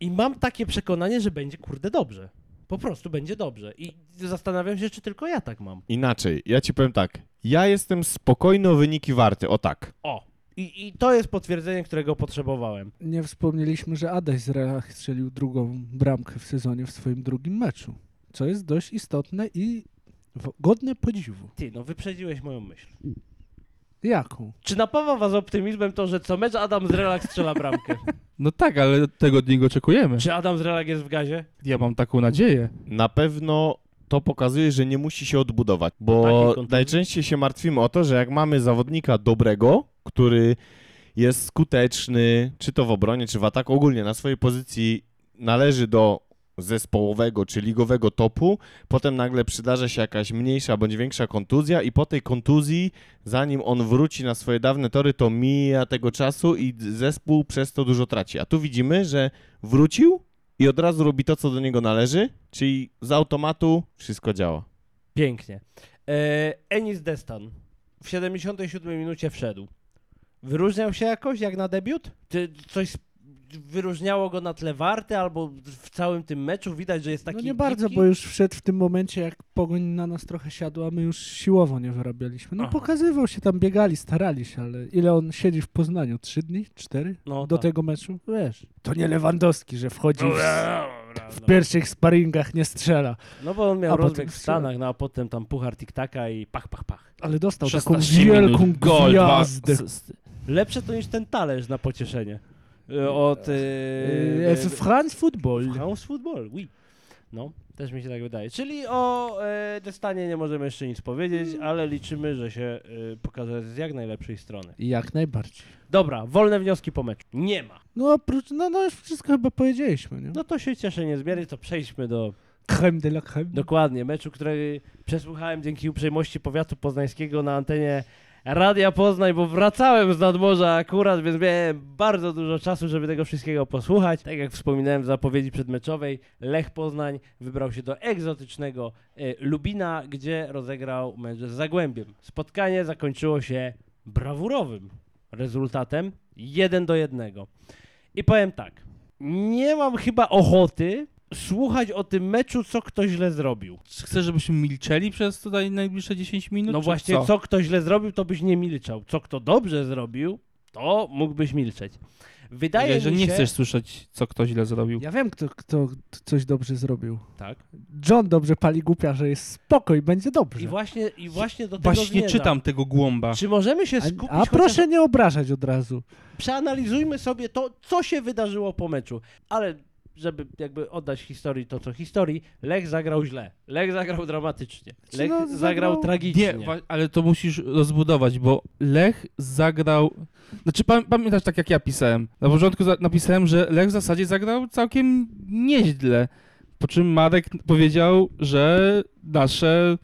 [SPEAKER 1] i mam takie przekonanie, że będzie kurde dobrze. Po prostu będzie dobrze. I zastanawiam się, czy tylko ja tak mam.
[SPEAKER 4] Inaczej, ja ci powiem tak, ja jestem spokojny o wyniki Warty, o tak.
[SPEAKER 1] O. I, I to jest potwierdzenie, którego potrzebowałem.
[SPEAKER 2] Nie wspomnieliśmy, że Adaś z Relach strzelił drugą bramkę w sezonie w swoim drugim meczu, co jest dość istotne i w- godne podziwu.
[SPEAKER 1] Ty, no wyprzedziłeś moją myśl.
[SPEAKER 2] Jaką?
[SPEAKER 1] Czy napawa was optymizmem to, że co mecz Adam z Relak strzela bramkę?
[SPEAKER 3] No tak, ale tego od niego oczekujemy.
[SPEAKER 1] Czy Adam z Relak jest w gazie?
[SPEAKER 3] Ja mam taką nadzieję.
[SPEAKER 4] na pewno to pokazuje, że nie musi się odbudować,
[SPEAKER 1] Po takiej
[SPEAKER 4] bo
[SPEAKER 1] kontuzji?
[SPEAKER 4] najczęściej się martwimy o to, że jak mamy zawodnika dobrego, który jest skuteczny, czy to w obronie, czy w ataku, ogólnie na swojej pozycji należy do zespołowego czy ligowego topu, potem nagle przydarza się jakaś mniejsza bądź większa kontuzja i po tej kontuzji, zanim on wróci na swoje dawne tory, to mija tego czasu i zespół przez to dużo traci. A tu widzimy, że wrócił i od razu robi to, co do niego należy, czyli z automatu wszystko działa.
[SPEAKER 1] Pięknie. E, Enis Destan w 77 minucie wszedł. Wyróżniał się jakoś jak na debiut? Czy coś sp- wyróżniało go na tle Warty albo w całym tym meczu? Widać, że jest taki
[SPEAKER 2] no nie bardzo,
[SPEAKER 1] gibki?
[SPEAKER 2] bo już wszedł w tym momencie, jak pogoń na nas trochę siadła, my już siłowo nie wyrabialiśmy. No
[SPEAKER 1] Aha.
[SPEAKER 2] pokazywał się tam, biegali, starali się, ale ile on siedzi w Poznaniu? Trzy dni? Cztery?
[SPEAKER 1] No,
[SPEAKER 2] Do
[SPEAKER 1] tak.
[SPEAKER 2] tego meczu? Wiesz, to nie Lewandowski, że wchodzi
[SPEAKER 1] No,
[SPEAKER 2] w,
[SPEAKER 1] dobra,
[SPEAKER 2] w
[SPEAKER 1] no.
[SPEAKER 2] pierwszych sparingach, nie strzela.
[SPEAKER 1] No bo on miał
[SPEAKER 2] A potem
[SPEAKER 1] rozbieg w
[SPEAKER 2] wstrzymał.
[SPEAKER 1] Stanach, no a potem tam puchar tiktaka i pach, pach, pach.
[SPEAKER 2] Ale dostał taką
[SPEAKER 3] 16
[SPEAKER 2] wielką
[SPEAKER 3] minut, gol, dwa
[SPEAKER 2] gwiazdę.
[SPEAKER 3] asysty.
[SPEAKER 1] Lepsze to niż ten talerz na pocieszenie. E, Od... e,
[SPEAKER 2] Yy, w France Football.
[SPEAKER 1] France Football, oui. No, też mi się tak wydaje. Czyli o e, Destanie nie możemy jeszcze nic powiedzieć, ale liczymy, że się e, pokaże z jak najlepszej strony.
[SPEAKER 2] Jak najbardziej.
[SPEAKER 1] Dobra, wolne wnioski po meczu. Nie ma.
[SPEAKER 2] No oprócz, no, no już wszystko chyba powiedzieliśmy, nie?
[SPEAKER 1] No to się cieszę niezmiernie, to przejdźmy do
[SPEAKER 2] Creme de la creme.
[SPEAKER 1] dokładnie meczu, który przesłuchałem dzięki uprzejmości powiatu poznańskiego na antenie Radia Poznań, bo wracałem z nadmorza akurat, więc miałem bardzo dużo czasu, żeby tego wszystkiego posłuchać. Tak jak wspominałem w zapowiedzi przedmeczowej, Lech Poznań wybrał się do egzotycznego e, Lubina, gdzie rozegrał mecz z Zagłębiem. Spotkanie zakończyło się brawurowym rezultatem 1 do 1. I powiem tak, nie mam chyba ochoty słuchać o tym meczu, co kto źle zrobił.
[SPEAKER 3] Czy Chcesz, żebyśmy milczeli przez tutaj najbliższe 10 minut?
[SPEAKER 1] No
[SPEAKER 3] czy
[SPEAKER 1] właśnie, co? kto źle zrobił, to byś nie milczał. Co kto dobrze zrobił, to mógłbyś milczeć. Wydaje
[SPEAKER 3] Wydaje,
[SPEAKER 1] mi
[SPEAKER 3] że
[SPEAKER 1] się...
[SPEAKER 3] nie chcesz słyszeć, co kto źle zrobił.
[SPEAKER 2] Ja wiem, kto, kto t- coś dobrze zrobił.
[SPEAKER 1] Tak.
[SPEAKER 2] John dobrze pali głupia, że jest spokój, będzie dobrze.
[SPEAKER 1] I właśnie, i właśnie do tego
[SPEAKER 3] Właśnie
[SPEAKER 1] zmierzam.
[SPEAKER 3] czytam tego głąba.
[SPEAKER 1] Czy możemy się
[SPEAKER 2] A,
[SPEAKER 1] skupić
[SPEAKER 2] a
[SPEAKER 1] chociaż
[SPEAKER 2] proszę nie obrażać od razu.
[SPEAKER 1] przeanalizujmy sobie to, co się wydarzyło po meczu. Ale żeby jakby oddać historii to, co historii, Lech zagrał źle. Lech zagrał dramatycznie.
[SPEAKER 2] Czy
[SPEAKER 1] Lech
[SPEAKER 2] no,
[SPEAKER 1] zagrał,
[SPEAKER 2] zagrał-
[SPEAKER 1] tragicznie.
[SPEAKER 3] Nie, wa- ale to musisz rozbudować, bo Lech zagrał. Znaczy, pam- pamiętasz tak jak ja pisałem? Na początku za- napisałem, że Lech w zasadzie zagrał całkiem nieźle. Po czym Marek powiedział, że nasze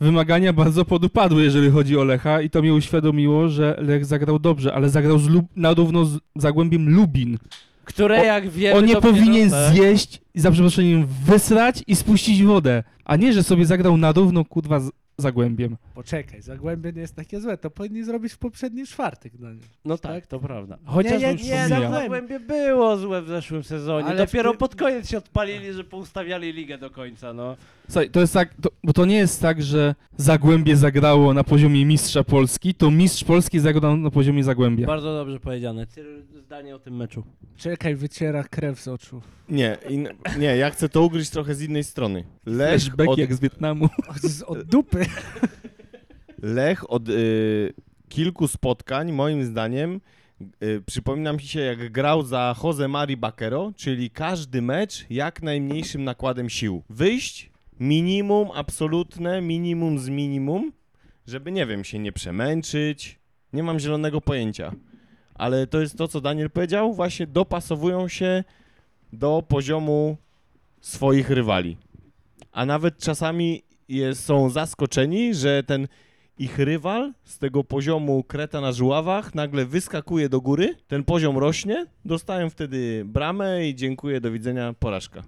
[SPEAKER 3] wymagania bardzo podupadły, jeżeli chodzi o Lecha, i to mi uświadomiło, że Lech zagrał dobrze, ale zagrał z Lub- na równo z zagłębiem Lubin.
[SPEAKER 1] Które,
[SPEAKER 3] O-
[SPEAKER 1] jak wiemy...
[SPEAKER 3] On nie
[SPEAKER 1] dopiero-
[SPEAKER 3] powinien
[SPEAKER 1] Tak.
[SPEAKER 3] zjeść i za przeproszeniem wysrać i spuścić wodę, a nie, że sobie zagrał na równo kurwa z zagłębiem.
[SPEAKER 2] Poczekaj, Zagłębie nie jest takie złe, to powinni zrobić w poprzedni czwartek. No nie.
[SPEAKER 1] No tak, to prawda.
[SPEAKER 3] Chociaż
[SPEAKER 1] nie,
[SPEAKER 3] już
[SPEAKER 1] nie,
[SPEAKER 3] pomijam.
[SPEAKER 1] nie, Zagłębie było złe w zeszłym sezonie.
[SPEAKER 2] Ale w
[SPEAKER 1] Dopiero
[SPEAKER 2] tym-
[SPEAKER 1] pod koniec się odpalili, że poustawiali ligę do końca, no.
[SPEAKER 3] Słuchaj, to jest tak, to, bo to nie jest tak, że Zagłębie zagrało na poziomie mistrza Polski, to mistrz Polski zagrał na poziomie Zagłębia.
[SPEAKER 1] Bardzo dobrze powiedziane. Cyryl, zdanie o tym meczu.
[SPEAKER 2] Czekaj, wyciera krew z oczu.
[SPEAKER 4] Nie, in, nie, ja chcę to ugryźć trochę z innej strony. Lech
[SPEAKER 3] Flashback
[SPEAKER 4] od,
[SPEAKER 3] jak z Wietnamu.
[SPEAKER 2] Od, z- od dupy.
[SPEAKER 4] Lech od y, kilku spotkań, moim zdaniem, y, przypomina mi się, jak grał za Jose Mari Baquero, czyli każdy mecz jak najmniejszym nakładem sił. Wyjść minimum, absolutne, minimum z minimum, żeby, nie wiem, się nie przemęczyć. Nie mam zielonego pojęcia. Ale to jest to, co Daniel powiedział, właśnie dopasowują się do poziomu swoich rywali. A nawet czasami jest, są zaskoczeni, że ten ich rywal z tego poziomu kreta na żuławach nagle wyskakuje do góry, ten poziom rośnie, dostają wtedy bramę i dziękuję, do widzenia, porażka.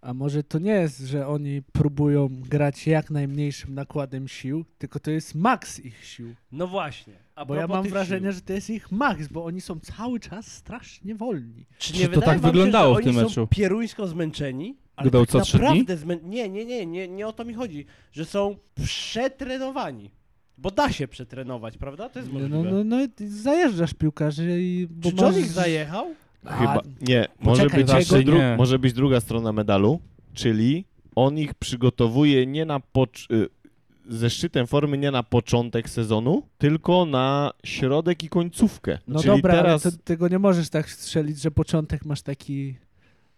[SPEAKER 2] A może to nie jest, że oni próbują grać jak najmniejszym nakładem sił, tylko to jest maks ich sił.
[SPEAKER 1] No właśnie. A
[SPEAKER 2] Bo ja
[SPEAKER 1] propos
[SPEAKER 2] mam
[SPEAKER 1] tych
[SPEAKER 2] wrażenie,
[SPEAKER 1] sił.
[SPEAKER 2] że to jest ich maks, bo oni są cały czas strasznie wolni.
[SPEAKER 1] Czy
[SPEAKER 3] Czy
[SPEAKER 1] nie
[SPEAKER 3] to
[SPEAKER 1] wydaje
[SPEAKER 3] tak
[SPEAKER 1] wam
[SPEAKER 3] wyglądało
[SPEAKER 1] się,
[SPEAKER 3] w
[SPEAKER 1] że
[SPEAKER 3] tym
[SPEAKER 1] oni Są
[SPEAKER 3] meczu?
[SPEAKER 1] pieruńsko zmęczeni. Ale
[SPEAKER 3] Grał
[SPEAKER 1] tak
[SPEAKER 3] co trzy dni?
[SPEAKER 1] naprawdę zmę... nie, nie, nie, nie, nie o to mi chodzi. Że są przetrenowani. Bo da się przetrenować, prawda? To jest
[SPEAKER 2] No,
[SPEAKER 1] możliwe.
[SPEAKER 2] no, no, no i zajeżdżasz piłkarzy i... Bo
[SPEAKER 1] Czy John
[SPEAKER 2] masz-
[SPEAKER 1] ich zajechał?
[SPEAKER 2] A,
[SPEAKER 4] Chyba, nie, może
[SPEAKER 2] poczekaj,
[SPEAKER 4] być, jeszcze
[SPEAKER 3] czego- nie.
[SPEAKER 4] dru- może być druga strona medalu, czyli on ich przygotowuje nie na pocz- y, ze szczytem formy nie na początek sezonu, tylko na środek i końcówkę.
[SPEAKER 2] No
[SPEAKER 4] czyli
[SPEAKER 2] dobra,
[SPEAKER 4] teraz
[SPEAKER 2] ale to, tego nie możesz tak strzelić, że początek masz taki...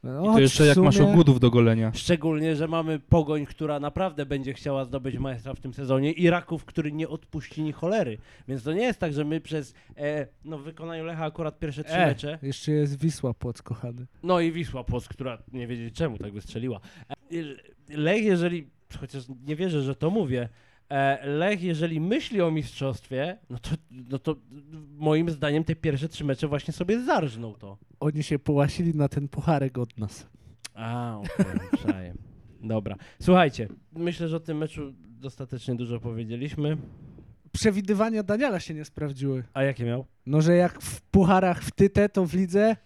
[SPEAKER 2] No,
[SPEAKER 3] I
[SPEAKER 2] choć
[SPEAKER 3] to
[SPEAKER 2] w
[SPEAKER 3] jeszcze jak masz
[SPEAKER 2] sumie-
[SPEAKER 3] ogudów do golenia.
[SPEAKER 1] Szczególnie, że mamy pogoń, która naprawdę będzie chciała zdobyć majstra w tym sezonie i raków, który nie odpuści ni cholery. Więc to nie jest tak, że my przez e, no, w wykonaniu Lecha akurat pierwsze trzy
[SPEAKER 2] E,
[SPEAKER 1] mecze.
[SPEAKER 2] Jeszcze jest Wisła Płoc, kochany.
[SPEAKER 1] No i Wisła Płoc, która nie wiedzieć czemu tak wystrzeliła. E, Lech, jeżeli, chociaż nie wierzę, że to mówię, e, Lech, jeżeli myśli o mistrzostwie, no to, no to moim zdaniem te pierwsze trzy mecze właśnie sobie zarżnął to.
[SPEAKER 2] Oni się połasili na ten pucharek od nas.
[SPEAKER 1] A, okej, okay, Dobra. Słuchajcie, myślę, że o tym meczu dostatecznie dużo powiedzieliśmy.
[SPEAKER 2] Przewidywania Daniela się nie sprawdziły.
[SPEAKER 1] A jakie miał?
[SPEAKER 2] No, że jak w pucharach w tytę, to w lidze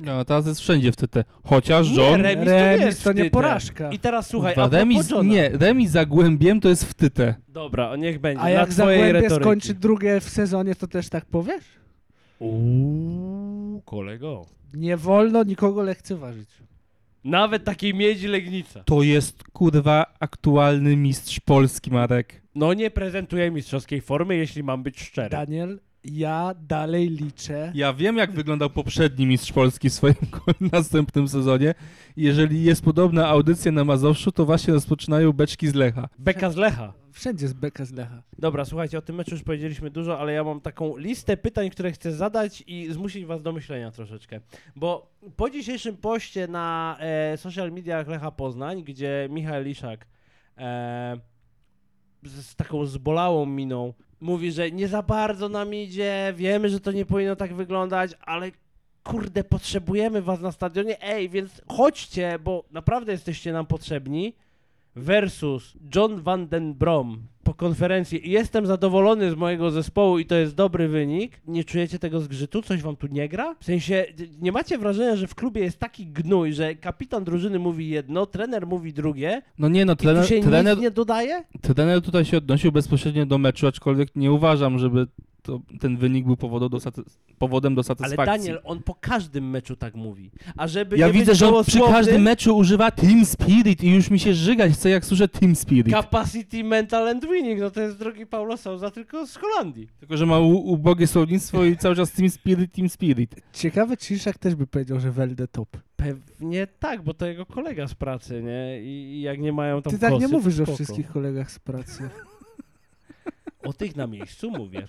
[SPEAKER 3] No, teraz jest wszędzie w TT. Chociaż
[SPEAKER 1] Nie,
[SPEAKER 3] John...
[SPEAKER 1] remis to,
[SPEAKER 2] remis
[SPEAKER 1] jest
[SPEAKER 2] to nie
[SPEAKER 1] wstyd.
[SPEAKER 2] porażka.
[SPEAKER 1] I teraz słuchaj,
[SPEAKER 3] Kurwa,
[SPEAKER 1] a
[SPEAKER 3] remis,
[SPEAKER 1] propos Johna.
[SPEAKER 3] nie, remis za głębiem to jest w tytę.
[SPEAKER 1] Dobra, niech będzie.
[SPEAKER 2] A
[SPEAKER 1] na
[SPEAKER 2] jak
[SPEAKER 1] twojej
[SPEAKER 2] Zagłębie
[SPEAKER 1] retoryki.
[SPEAKER 2] skończy drugie w sezonie, to też tak powiesz?
[SPEAKER 1] Uuu, kolego.
[SPEAKER 2] Nie wolno nikogo lekceważyć.
[SPEAKER 1] Nawet takiej miedzi Legnica.
[SPEAKER 3] To jest kurwa aktualny mistrz Polski, Marek.
[SPEAKER 1] No nie prezentuje mistrzowskiej formy, jeśli mam być szczery.
[SPEAKER 2] Daniel, ja dalej liczę.
[SPEAKER 3] Ja wiem, jak wyglądał poprzedni mistrz Polski w swoim następnym sezonie. Jeżeli jest podobna audycja na Mazowszu, to właśnie rozpoczynają beczki z Lecha.
[SPEAKER 1] Beka z Lecha.
[SPEAKER 2] Wszędzie z beka z Lecha.
[SPEAKER 1] Dobra, słuchajcie, o tym meczu już powiedzieliśmy dużo, ale ja mam taką listę pytań, które chcę zadać i zmusić was do myślenia troszeczkę. Bo po dzisiejszym poście na e, social mediach Lecha Poznań, gdzie Michał Liszak e, z, z taką zbolałą miną mówi, że nie za bardzo nam idzie, wiemy, że to nie powinno tak wyglądać, ale kurde, potrzebujemy was na stadionie, ej, więc chodźcie, bo naprawdę jesteście nam potrzebni versus John Van Den Brom po konferencji i jestem zadowolony z mojego zespołu i to jest dobry wynik, nie czujecie tego zgrzytu? Coś wam tu nie gra? W sensie, nie macie wrażenia, że w klubie jest taki gnój, że kapitan drużyny mówi jedno, trener mówi drugie
[SPEAKER 3] No nie no,
[SPEAKER 1] i tu
[SPEAKER 3] trener,
[SPEAKER 1] się
[SPEAKER 3] trener,
[SPEAKER 1] nic nie dodaje?
[SPEAKER 3] trener tutaj się odnosił bezpośrednio do meczu, aczkolwiek nie uważam, żeby to, ten wynik był powodem do, satys- powodem do
[SPEAKER 1] Ale
[SPEAKER 3] satysfakcji.
[SPEAKER 1] Daniel, on po każdym meczu tak mówi. A żeby
[SPEAKER 3] ja
[SPEAKER 1] nie
[SPEAKER 3] widzę,
[SPEAKER 1] być
[SPEAKER 3] że on przy
[SPEAKER 1] gołosłownym,
[SPEAKER 3] każdym meczu używa Team Spirit i już mi się żygać chce, jak słyszę Team Spirit.
[SPEAKER 1] Capacity, mental and winning, no to jest drogi Paulo Sousa, tylko z Holandii.
[SPEAKER 3] Tylko, że ma u- ubogie słownictwo i cały czas Team Spirit, Team Spirit.
[SPEAKER 2] Ciekawe, czy Iszak też by powiedział, że Welde top.
[SPEAKER 1] Pewnie tak, bo to jego kolega z pracy, nie? I i jak nie mają tam
[SPEAKER 2] Ty tak nie
[SPEAKER 1] kosy,
[SPEAKER 2] mówisz o
[SPEAKER 1] spoko.
[SPEAKER 2] wszystkich kolegach z pracy.
[SPEAKER 1] O tych na miejscu mówię.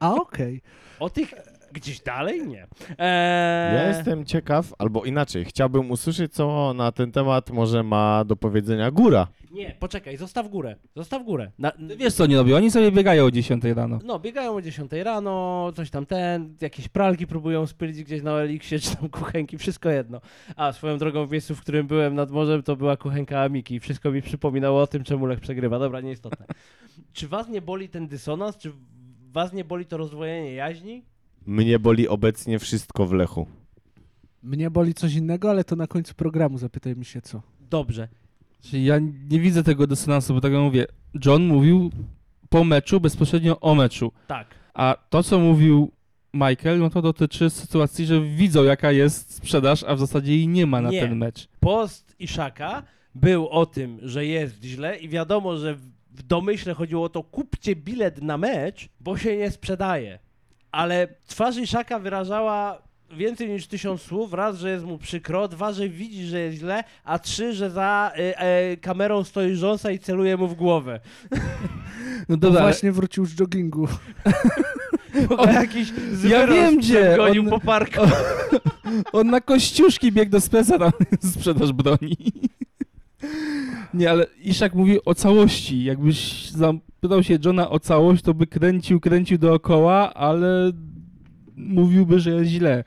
[SPEAKER 2] A okej.
[SPEAKER 1] O tych gdzieś dalej nie. Eee,
[SPEAKER 4] Ja jestem ciekaw, albo inaczej, chciałbym usłyszeć, co na ten temat może ma do powiedzenia góra.
[SPEAKER 1] Nie, poczekaj, zostaw górę. Zostaw górę. Na,
[SPEAKER 3] Ty Wiesz co oni robią? Oni sobie biegają o 10 rano.
[SPEAKER 1] no, biegają o 10 rano, coś tam ten, jakieś pralki próbują spylić gdzieś na Eliksie, czy tam kuchenki, wszystko jedno. A swoją drogą w miejscu, w którym byłem nad morzem, to była kuchenka Amiki i wszystko mi przypominało o tym, czemu Lech przegrywa. Dobra, nieistotne. czy was nie boli ten dysonans? Czy was nie boli to rozdwojenie jaźni?
[SPEAKER 4] Mnie boli obecnie wszystko w Lechu.
[SPEAKER 2] Mnie boli coś innego, ale to na końcu programu zapytaj mi się co.
[SPEAKER 1] Dobrze.
[SPEAKER 3] Czyli ja nie widzę tego dysonansu, bo tak jak mówię, John mówił po meczu, bezpośrednio o meczu.
[SPEAKER 1] Tak.
[SPEAKER 3] A to, co mówił Michael, no to dotyczy sytuacji, że widzą, jaka jest sprzedaż, a w zasadzie jej nie ma na
[SPEAKER 1] Nie.
[SPEAKER 3] ten mecz.
[SPEAKER 1] post Iszaka był o tym, że jest źle i wiadomo, że w- w domyśle chodziło o to, kupcie bilet na mecz, bo się nie sprzedaje. Ale twarz Iszaka wyrażała więcej niż tysiąc słów. Raz, że jest mu przykro, dwa, że widzi, że jest źle, a trzy, że za e, e, kamerą stoi rząsa i celuje mu w głowę.
[SPEAKER 3] No
[SPEAKER 2] No
[SPEAKER 3] dobra, ale
[SPEAKER 2] Właśnie wrócił z joggingu.
[SPEAKER 1] Bo
[SPEAKER 3] On-
[SPEAKER 1] jakiś
[SPEAKER 3] ja wiem gdzie,
[SPEAKER 1] gonił
[SPEAKER 3] on-
[SPEAKER 1] po parku.
[SPEAKER 3] on na kościuszki biegł do spesa, tam sprzedaż broni. Nie, ale Iszak mówi o całości. Jakbyś zapytał się Johna o całość, to by kręcił, kręcił dookoła, ale mówiłby, że jest źle.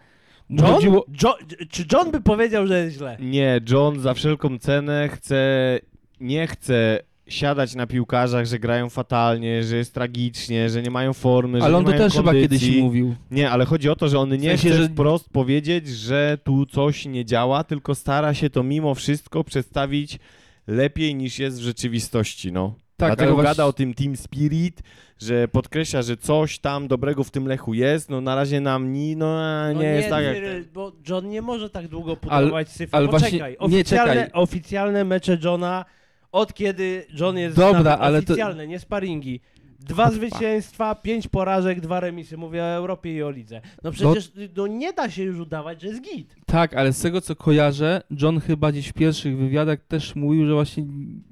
[SPEAKER 3] Mu
[SPEAKER 1] John?
[SPEAKER 3] chodziło-
[SPEAKER 1] Jo, czy John by powiedział, że jest źle?
[SPEAKER 4] Nie, John za wszelką cenę chce, nie chce siadać na piłkarzach, że grają fatalnie, że jest tragicznie, że nie mają formy, że
[SPEAKER 3] Ale
[SPEAKER 4] nie
[SPEAKER 3] on to
[SPEAKER 4] mają
[SPEAKER 3] też chyba
[SPEAKER 4] kondycji.
[SPEAKER 3] kiedyś mówił.
[SPEAKER 4] Nie, ale chodzi o to, że on nie
[SPEAKER 3] sensie,
[SPEAKER 4] chce
[SPEAKER 3] że-
[SPEAKER 4] wprost powiedzieć, że tu coś nie działa, tylko stara się to mimo wszystko przedstawić lepiej niż jest w rzeczywistości, no.
[SPEAKER 3] Tak,
[SPEAKER 4] Dlatego
[SPEAKER 3] ale
[SPEAKER 4] gada
[SPEAKER 3] właśnie-
[SPEAKER 4] o tym Team Spirit, że podkreśla, że coś tam dobrego w tym Lechu jest, no na razie nam ni, no, nie,
[SPEAKER 1] No
[SPEAKER 4] jest tak jak...
[SPEAKER 1] Cyril, Bo John nie może tak długo podejmować cyfr.
[SPEAKER 3] ale
[SPEAKER 1] Poczekaj,
[SPEAKER 3] właśnie- nie,
[SPEAKER 1] oficjalne,
[SPEAKER 3] czekaj.
[SPEAKER 1] oficjalne mecze Johna, od kiedy John jest
[SPEAKER 3] Dobra,
[SPEAKER 1] z nami,
[SPEAKER 3] ale to-
[SPEAKER 1] oficjalne, nie sparingi. Dwa zwycięstwa, pięć porażek, dwa remisy. Mówię o Europie i o lidze. No przecież no nie da się już udawać, że jest git.
[SPEAKER 3] Tak, ale z tego co kojarzę, John chyba gdzieś w pierwszych wywiadach też mówił, że właśnie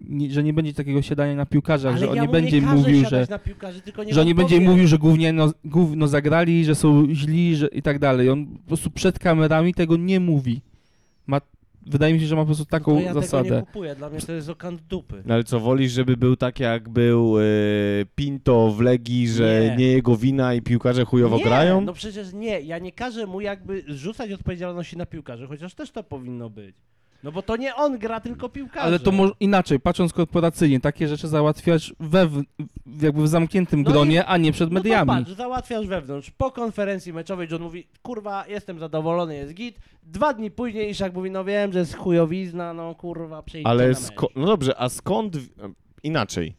[SPEAKER 3] nie, że nie będzie takiego siadania na piłkarzach,
[SPEAKER 1] Ale
[SPEAKER 3] że on
[SPEAKER 1] ja
[SPEAKER 3] nie
[SPEAKER 1] mu
[SPEAKER 3] będzie
[SPEAKER 1] nie każę
[SPEAKER 3] mówił, że,
[SPEAKER 1] siadać na piłkarzy, tylko nie
[SPEAKER 3] że on nie
[SPEAKER 1] wam
[SPEAKER 3] będzie
[SPEAKER 1] powiem.
[SPEAKER 3] mówił, że gówno, gówno zagrali, że są źli że i tak dalej. On po prostu przed kamerami tego nie mówi. Ma, wydaje mi się, że ma po prostu
[SPEAKER 1] No To
[SPEAKER 3] taką
[SPEAKER 1] ja tego nie
[SPEAKER 3] zasadę.
[SPEAKER 1] kupuję, dla mnie to jest okant dupy.
[SPEAKER 4] No ale co, wolisz, żeby był tak jak był e, Pinto w Legii, że
[SPEAKER 1] Nie.
[SPEAKER 4] nie. jego wina i piłkarze chujowo
[SPEAKER 1] nie,
[SPEAKER 4] grają?
[SPEAKER 1] No przecież nie, ja nie każę mu jakby zrzucać odpowiedzialności na piłkarzy, chociaż też to powinno być. No bo to nie on gra, tylko piłkarze. No
[SPEAKER 3] Ale to mo- inaczej, patrząc korporacyjnie, takie rzeczy załatwiać we, w- jakby w zamkniętym
[SPEAKER 1] No i-
[SPEAKER 3] gronie, a nie przed
[SPEAKER 1] no to
[SPEAKER 3] mediami.
[SPEAKER 1] patrz, załatwiasz wewnątrz. Po konferencji meczowej John mówi, kurwa, jestem zadowolony, jest git. Dwa dni później Iszak mówi, no wiem, że jest chujowizna, no kurwa, przyjdźcie
[SPEAKER 4] Ale
[SPEAKER 1] na
[SPEAKER 4] sko-
[SPEAKER 1] mecz.
[SPEAKER 4] no dobrze, a skąd w- inaczej?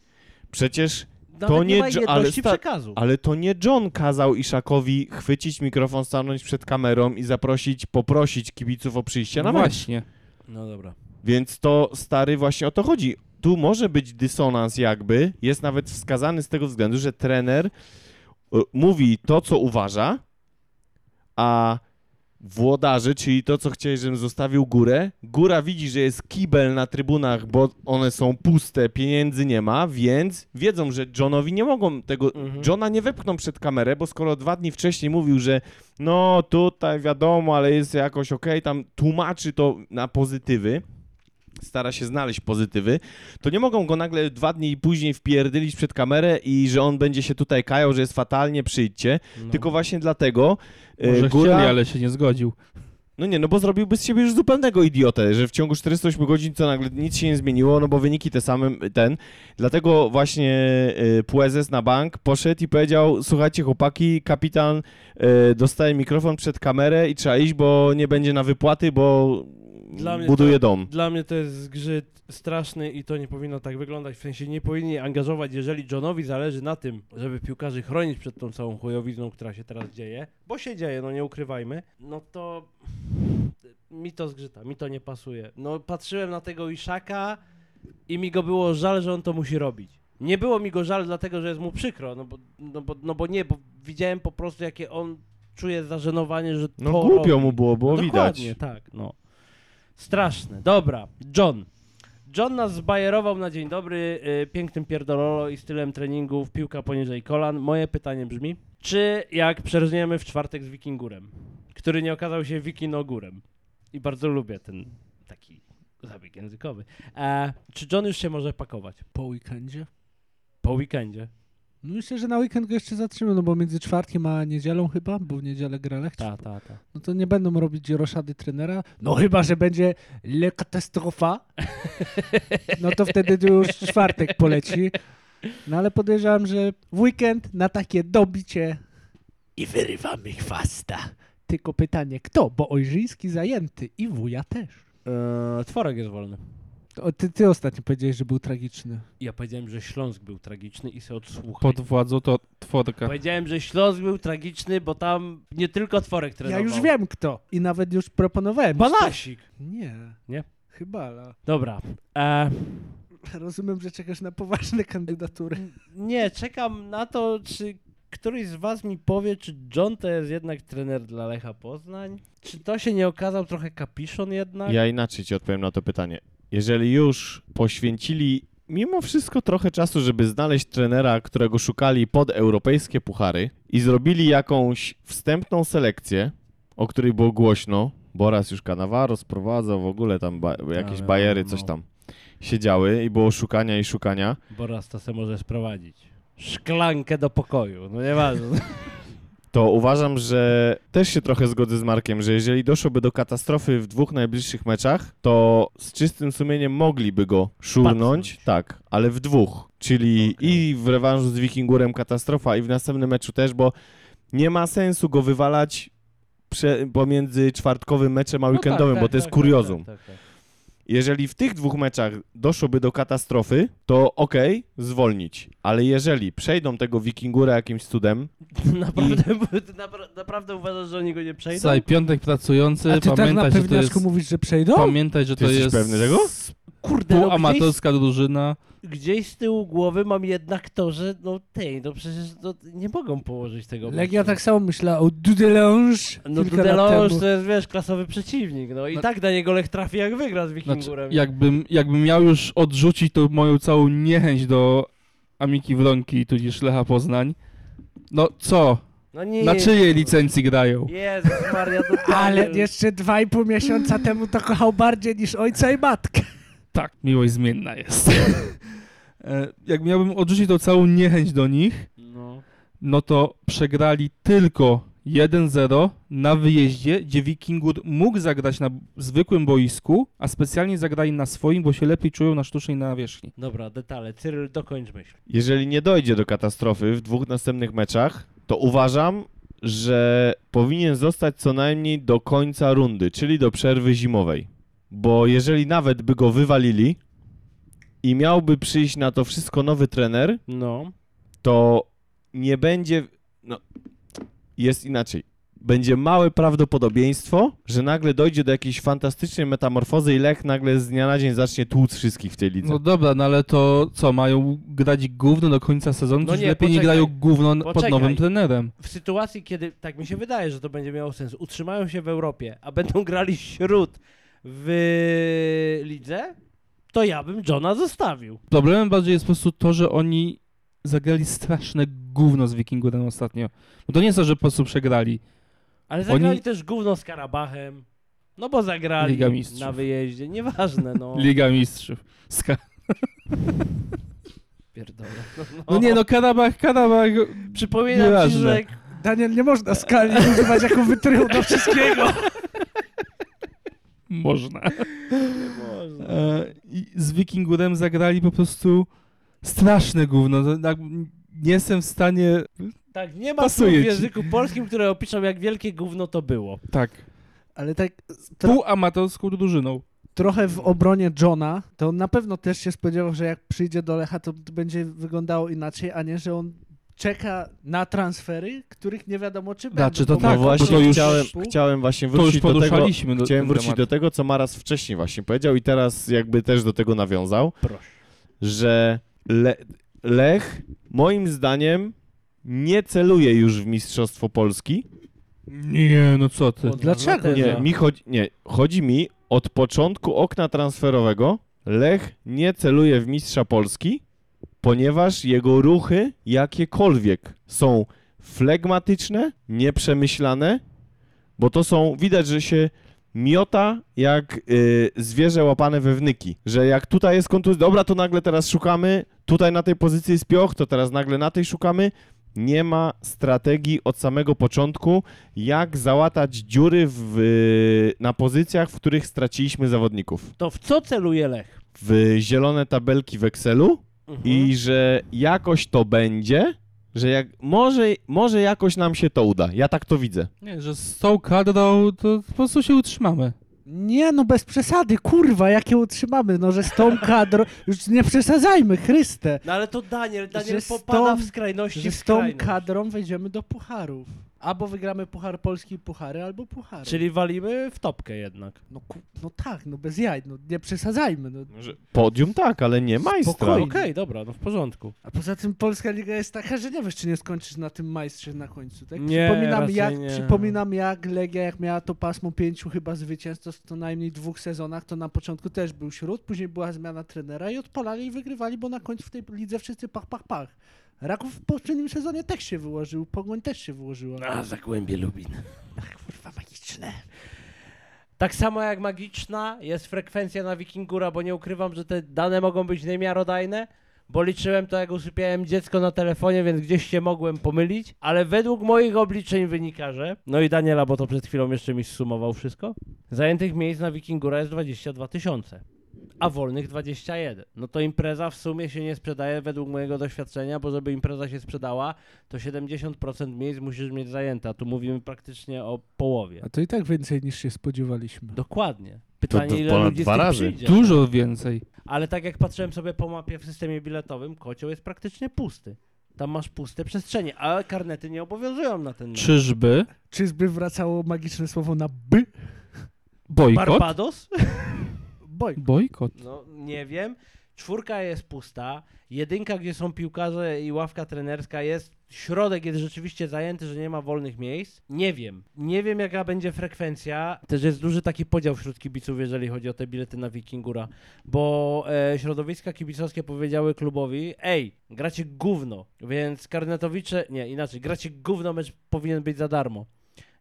[SPEAKER 4] Przecież,
[SPEAKER 1] Nawet
[SPEAKER 4] to nie
[SPEAKER 1] nie ma
[SPEAKER 4] dż- ale
[SPEAKER 1] jedności
[SPEAKER 4] sta-
[SPEAKER 1] przekazu.
[SPEAKER 4] ale to nie John kazał Iszakowi chwycić mikrofon, stanąć przed kamerą i zaprosić, poprosić kibiców o przyjście
[SPEAKER 3] No
[SPEAKER 4] na mecz.
[SPEAKER 3] właśnie.
[SPEAKER 1] No dobra.
[SPEAKER 4] Więc to stary właśnie o to chodzi. Tu może być dysonans jakby, jest nawet wskazany z tego względu, że trener y, mówi to, co uważa, a włodarze, czyli to, co chcieli, żebym zostawił górę, góra widzi, że jest kibel na trybunach, bo one są puste, pieniędzy nie ma, więc wiedzą, że Johnowi nie mogą tego...
[SPEAKER 1] Mhm.
[SPEAKER 4] Johna nie wepchną przed kamerę, bo skoro dwa dni wcześniej mówił, że no tutaj wiadomo, ale jest jakoś okej, tam tłumaczy to na pozytywy, stara się znaleźć pozytywy, to nie mogą go nagle dwa dni później wpierdylić przed kamerę i że on będzie się tutaj kajał, że jest fatalnie, przyjdźcie. Tylko właśnie dlatego e,
[SPEAKER 3] No. Może
[SPEAKER 4] góra...
[SPEAKER 3] chcieli, ale się nie zgodził.
[SPEAKER 4] No nie, no bo zrobiłby z siebie już zupełnego idiotę, że w ciągu 48 godzin co nagle nic się nie zmieniło, no bo wyniki te same, ten. Dlatego właśnie y, Puezes na bank poszedł i powiedział, słuchajcie chłopaki, kapitan y, dostaje mikrofon przed kamerę i trzeba iść, bo nie będzie na wypłaty, bo
[SPEAKER 1] Dla mnie
[SPEAKER 4] buduje
[SPEAKER 1] to-
[SPEAKER 4] dom.
[SPEAKER 1] Dla mnie to jest zgrzyt straszny i to nie powinno tak wyglądać. W sensie nie powinni angażować, jeżeli Johnowi zależy na tym, żeby piłkarzy chronić przed tą całą chujowizną, która się teraz dzieje, bo się dzieje, no nie ukrywajmy, no to mi to zgrzyta, mi to nie pasuje. No patrzyłem na tego Iszaka i mi go było żal, że on to musi robić. Nie było mi go żal dlatego, że jest mu przykro, no bo, no bo, no bo nie, bo widziałem po prostu jakie on czuje zażenowanie, że
[SPEAKER 4] No
[SPEAKER 1] to
[SPEAKER 4] głupio
[SPEAKER 1] robi.
[SPEAKER 4] mu było, było
[SPEAKER 1] No
[SPEAKER 4] widać.
[SPEAKER 1] Dokładnie, tak, no. Straszne. Dobra, John. John nas zbajerował na dzień dobry y, pięknym pierdololo i stylem treningów piłka poniżej kolan. Moje pytanie brzmi, czy jak przerzniemy w czwartek z Wikingurem, który nie okazał się Wikinogórem i bardzo lubię ten taki zabieg językowy, e, czy John już się może pakować
[SPEAKER 2] Po weekendzie?
[SPEAKER 1] po weekendzie?
[SPEAKER 2] No Myślę, że na weekend go jeszcze zatrzymy, no bo między czwartkiem a niedzielą chyba, bo w niedzielę gra Lech,
[SPEAKER 1] Ta, ta, ta.
[SPEAKER 2] no to nie będą robić roszady trenera, no chyba, że będzie le katastrofa, no to wtedy to już czwartek poleci. No ale podejrzewam, że w weekend na takie dobicie i wyrywamy chwasta. Tylko pytanie kto, bo Ojrzyński zajęty i wuja też.
[SPEAKER 1] E, tworek jest wolny.
[SPEAKER 2] To, ty, ty ostatnio powiedziałeś, że był tragiczny.
[SPEAKER 1] Ja powiedziałem, że Śląsk był tragiczny i se odsłuchaj.
[SPEAKER 3] Pod władzą to tworka.
[SPEAKER 1] Powiedziałem, że Śląsk był tragiczny, bo tam nie tylko Tworek
[SPEAKER 2] Ja
[SPEAKER 1] trenował.
[SPEAKER 2] już wiem kto i nawet już proponowałem.
[SPEAKER 1] Balasik.
[SPEAKER 2] Nie.
[SPEAKER 1] Nie?
[SPEAKER 2] Chyba, ale
[SPEAKER 1] Dobra. E,
[SPEAKER 2] rozumiem, że czekasz na poważne kandydatury.
[SPEAKER 1] nie, czekam na to, czy któryś z was mi powie, czy John to jest jednak trener dla Lecha Poznań? Czy to się nie okazał trochę kapiszon jednak?
[SPEAKER 4] Ja inaczej ci odpowiem na to pytanie. Jeżeli już poświęcili mimo wszystko trochę czasu, żeby znaleźć trenera, którego szukali pod europejskie puchary i zrobili jakąś wstępną selekcję, o której było głośno, bo raz już Kanawaro sprowadzał, w ogóle tam ba- jakieś
[SPEAKER 1] wiadomo,
[SPEAKER 4] bajery, coś
[SPEAKER 1] no.
[SPEAKER 4] tam siedziały i było szukania i szukania.
[SPEAKER 1] Bo raz to se może sprowadzić. Szklankę do pokoju, no nieważne.
[SPEAKER 4] to uważam, że też się trochę zgodzę z Markiem, że jeżeli doszłoby do katastrofy w dwóch najbliższych meczach, to z czystym sumieniem mogliby go szurnąć,
[SPEAKER 1] Pacnąć.
[SPEAKER 4] tak, ale w dwóch, czyli
[SPEAKER 1] Okej.
[SPEAKER 4] i w rewanżu z Wikingurem katastrofa i w następnym meczu też, bo nie ma sensu go wywalać prze, pomiędzy czwartkowym meczem a weekendowym, bo to jest kuriozum.
[SPEAKER 1] No Tak, tak,
[SPEAKER 4] Jeżeli w tych dwóch meczach doszłoby do katastrofy, to okej, zwolnić, ale jeżeli przejdą tego Wikingura jakimś cudem,
[SPEAKER 1] tak. Naprawdę, napra- naprawdę uważasz, że oni go nie przejdą?
[SPEAKER 3] Słuchaj, piątek pracujący,
[SPEAKER 2] No A ty tak na
[SPEAKER 3] pamiętaj, że to
[SPEAKER 2] pewniaczku
[SPEAKER 3] jest...
[SPEAKER 2] mówisz, że przejdą?
[SPEAKER 3] Pamiętaj, że
[SPEAKER 4] Ty
[SPEAKER 3] to
[SPEAKER 4] jesteś
[SPEAKER 3] jest
[SPEAKER 4] pewny tego?
[SPEAKER 1] Kurde, no gdzieś
[SPEAKER 3] półamatorska drużyna.
[SPEAKER 1] gdzieś z tyłu głowy mam jednak to, że no tej, no przecież no, nie mogą położyć tego.
[SPEAKER 2] Legia
[SPEAKER 1] meczu.
[SPEAKER 2] tak samo myślała o Dudelange
[SPEAKER 1] No
[SPEAKER 2] kilka lat
[SPEAKER 1] Dudelonż
[SPEAKER 2] temu.
[SPEAKER 1] to jest, wiesz, klasowy przeciwnik, no i
[SPEAKER 3] No-
[SPEAKER 1] tak na niego Lech trafi, jak wygra z
[SPEAKER 3] Znaczy,
[SPEAKER 1] Wikingurem.
[SPEAKER 3] jakbym, jakbym miał już odrzucić tą moją całą niechęć do Amiki Wronki, tudzież Lecha Poznań, no co?
[SPEAKER 1] no nie,
[SPEAKER 3] Na czyjej licencji grają?
[SPEAKER 1] Jezus Maria, totalnie.
[SPEAKER 2] Ale jeszcze dwa i pół miesiąca temu to kochał bardziej niż ojca i matkę.
[SPEAKER 3] Tak, miłość zmienna jest. E, Jak miałbym odrzucić tą całą niechęć do nich,
[SPEAKER 1] No.
[SPEAKER 3] no to przegrali tylko 1-0 na wyjeździe, gdzie Wikingur mógł zagrać na zwykłym boisku, a specjalnie zagrali na swoim, bo się lepiej czują na sztucznej nawierzchni.
[SPEAKER 1] Dobra, detale. Cyril, dokończ myśl.
[SPEAKER 4] Jeżeli nie dojdzie do katastrofy w dwóch następnych meczach, to uważam, że powinien zostać co najmniej do końca rundy, czyli do przerwy zimowej. Bo jeżeli nawet by go wywalili i miałby przyjść na to wszystko nowy trener,
[SPEAKER 1] No.
[SPEAKER 4] to nie będzie. No, jest inaczej. Będzie małe prawdopodobieństwo, że nagle dojdzie do jakiejś fantastycznej metamorfozy i Lech nagle z dnia na dzień zacznie tłuc wszystkich w tej lidze.
[SPEAKER 3] No dobra, no ale to co, mają grać gówno do końca sezonu?
[SPEAKER 1] No
[SPEAKER 3] No
[SPEAKER 1] nie,
[SPEAKER 3] lepiej nie
[SPEAKER 1] poczekaj,
[SPEAKER 3] grają gówno n- pod
[SPEAKER 1] poczekaj.
[SPEAKER 3] nowym trenerem.
[SPEAKER 1] W sytuacji, kiedy, tak mi się wydaje, że to będzie miało sens, utrzymają się w Europie, a będą grali śród w lidze, to ja bym Johna zostawił.
[SPEAKER 3] Problemem bardziej jest po prostu to, że oni zagrali straszne gówno z Wikingurem ostatnio. Bo to nie jest to, że po prostu przegrali.
[SPEAKER 1] Ale zagrali
[SPEAKER 3] Oni-
[SPEAKER 1] też gówno z Karabachem. No bo zagrali
[SPEAKER 3] Liga Mistrzów.
[SPEAKER 1] na wyjeździe. Nieważne, no.
[SPEAKER 3] Liga Mistrzów. Ska-
[SPEAKER 1] Pierdolę. No,
[SPEAKER 3] no nie no, Karabach, Karabach.
[SPEAKER 1] Przypominam ci,
[SPEAKER 3] nieważne.
[SPEAKER 1] że
[SPEAKER 2] Daniel, nie można skali używać jako wytrychu do wszystkiego.
[SPEAKER 3] Można. E, i z Wikingurem zagrali po prostu straszne gówno. To tak, Nie jestem w stanie...
[SPEAKER 1] tak nie ma słów
[SPEAKER 3] Pasuje
[SPEAKER 1] w
[SPEAKER 3] ci.
[SPEAKER 1] języku polskim, które opiszą, jak wielkie gówno to było.
[SPEAKER 3] Tak.
[SPEAKER 2] Ale tak tro,
[SPEAKER 3] Półamatorską drużyną.
[SPEAKER 2] trochę w obronie Johna, to on na pewno też się spodziewał, że jak przyjdzie do Lecha, to będzie wyglądało inaczej, a nie, że on czeka na transfery, których nie wiadomo czy będą.
[SPEAKER 3] czy to
[SPEAKER 2] bo
[SPEAKER 4] No
[SPEAKER 3] tak,
[SPEAKER 2] ma
[SPEAKER 4] właśnie,
[SPEAKER 3] bo to już-
[SPEAKER 4] chciałem,
[SPEAKER 2] zespół.
[SPEAKER 4] chciałem właśnie
[SPEAKER 3] To już
[SPEAKER 4] wrócić do tego,
[SPEAKER 3] poruszaliśmy do
[SPEAKER 4] chciałem
[SPEAKER 3] ten
[SPEAKER 4] wrócić
[SPEAKER 3] temat.
[SPEAKER 4] do tego, co Maras wcześniej właśnie powiedział i teraz jakby też do tego nawiązał,
[SPEAKER 1] Proszę.
[SPEAKER 4] że Le Lech moim zdaniem nie celuje już w Mistrzostwo Polski.
[SPEAKER 3] Nie, no co ty.
[SPEAKER 1] Od-
[SPEAKER 2] Dlaczego
[SPEAKER 1] Teza.
[SPEAKER 4] Nie, mi chodzi, nie, chodzi mi od początku okna transferowego Lech nie celuje w Mistrza Polski, ponieważ jego ruchy jakiekolwiek są flegmatyczne, nieprzemyślane, bo to są, widać, że się miota jak y, zwierzę łapane wewnyki, że jak tutaj jest kontuzja, dobra, to nagle teraz szukamy, tutaj na tej pozycji jest pioch, to teraz nagle na tej szukamy. Nie ma strategii od samego początku, jak załatać dziury w, y, na pozycjach, w których straciliśmy zawodników.
[SPEAKER 1] To w co celuje Lech?
[SPEAKER 4] W zielone tabelki w Excelu
[SPEAKER 1] Mhm.
[SPEAKER 4] i że jakoś to będzie, że jak, może, może jakoś nam się to uda. Ja tak to widzę.
[SPEAKER 3] Nie, że z tą kadrą to po prostu się utrzymamy.
[SPEAKER 2] Nie, no bez przesady, kurwa, jakie utrzymamy, no że z tą kadrą, już nie przesadzajmy, Chryste,
[SPEAKER 1] No ale to Daniel, Daniel
[SPEAKER 2] Że z
[SPEAKER 1] popada
[SPEAKER 2] tą-
[SPEAKER 1] w skrajności
[SPEAKER 2] że
[SPEAKER 1] w
[SPEAKER 2] z tą
[SPEAKER 1] skrajność.
[SPEAKER 2] kadrą wejdziemy do pucharów. Albo wygramy Puchar Polski i Puchary, albo Puchary.
[SPEAKER 1] Czyli walimy w topkę jednak.
[SPEAKER 2] No, ku... no tak, no bez jaj, no nie przesadzajmy, no
[SPEAKER 4] Podium tak, ale nie majstra.
[SPEAKER 1] Okej,
[SPEAKER 2] Spokojnie.
[SPEAKER 1] dobra, no w porządku.
[SPEAKER 2] A poza tym polska liga jest taka, że nie wiesz, czy nie skończysz na tym majstrze na końcu, tak?
[SPEAKER 1] Nie,
[SPEAKER 2] przypominam,
[SPEAKER 1] raczej
[SPEAKER 2] jak,
[SPEAKER 1] nie.
[SPEAKER 2] przypominam jak Legia, jak miała to pasmo pięciu chyba zwycięstw, to co najmniej dwóch sezonach, to na początku też był śród, później była zmiana trenera i odpalali i wygrywali, bo na końcu w tej lidze wszyscy pach, pach, pach. Raków w poprzednim sezonie też się wyłożył, Pogoń też się wyłożyła.
[SPEAKER 1] No, A, Zagłębie Lubin.
[SPEAKER 2] Kurwa, magiczne.
[SPEAKER 1] Tak samo jak magiczna jest frekwencja na Wikingura, bo nie ukrywam, że te dane mogą być niemiarodajne, bo liczyłem to, jak usypiałem dziecko na telefonie, więc gdzieś się mogłem pomylić, ale według moich obliczeń wynika, że... No i Daniela, bo to przed chwilą jeszcze mi zsumował wszystko. Zajętych miejsc na Wikingura jest 22 tysiące. a wolnych 21. No to impreza w sumie się nie sprzedaje według mojego doświadczenia, bo żeby impreza się sprzedała, to 70% miejsc musisz mieć zajęte, a tu mówimy praktycznie o połowie.
[SPEAKER 2] A to i tak więcej niż się spodziewaliśmy.
[SPEAKER 1] Dokładnie. Pytanie,
[SPEAKER 4] to
[SPEAKER 1] ile
[SPEAKER 4] ponad
[SPEAKER 1] ludzi
[SPEAKER 4] dwa
[SPEAKER 1] z tych
[SPEAKER 4] razy.
[SPEAKER 1] przyjdzie.
[SPEAKER 3] Dużo więcej.
[SPEAKER 1] Ale tak jak patrzyłem sobie po mapie w systemie biletowym, kocioł jest praktycznie pusty. Tam masz puste przestrzenie, a karnety nie obowiązują na ten mecz.
[SPEAKER 3] Czyżby?
[SPEAKER 2] Czyżby wracało magiczne słowo na by?
[SPEAKER 3] Bojkot?
[SPEAKER 1] Barbados?
[SPEAKER 2] Boj.
[SPEAKER 3] Bojkot.
[SPEAKER 1] No, nie wiem. Czwórka jest pusta. Jedynka, gdzie są piłkarze i ławka trenerska jest. Środek jest rzeczywiście zajęty, że nie ma wolnych miejsc. Nie wiem. Nie wiem, jaka będzie frekwencja. Też jest duży taki podział wśród kibiców, jeżeli chodzi o te bilety na Wikingura. Bo e, środowiska kibicowskie powiedziały klubowi, ej, gracie gówno, więc karnetowicze, nie, inaczej, gracie gówno, mecz powinien być za darmo.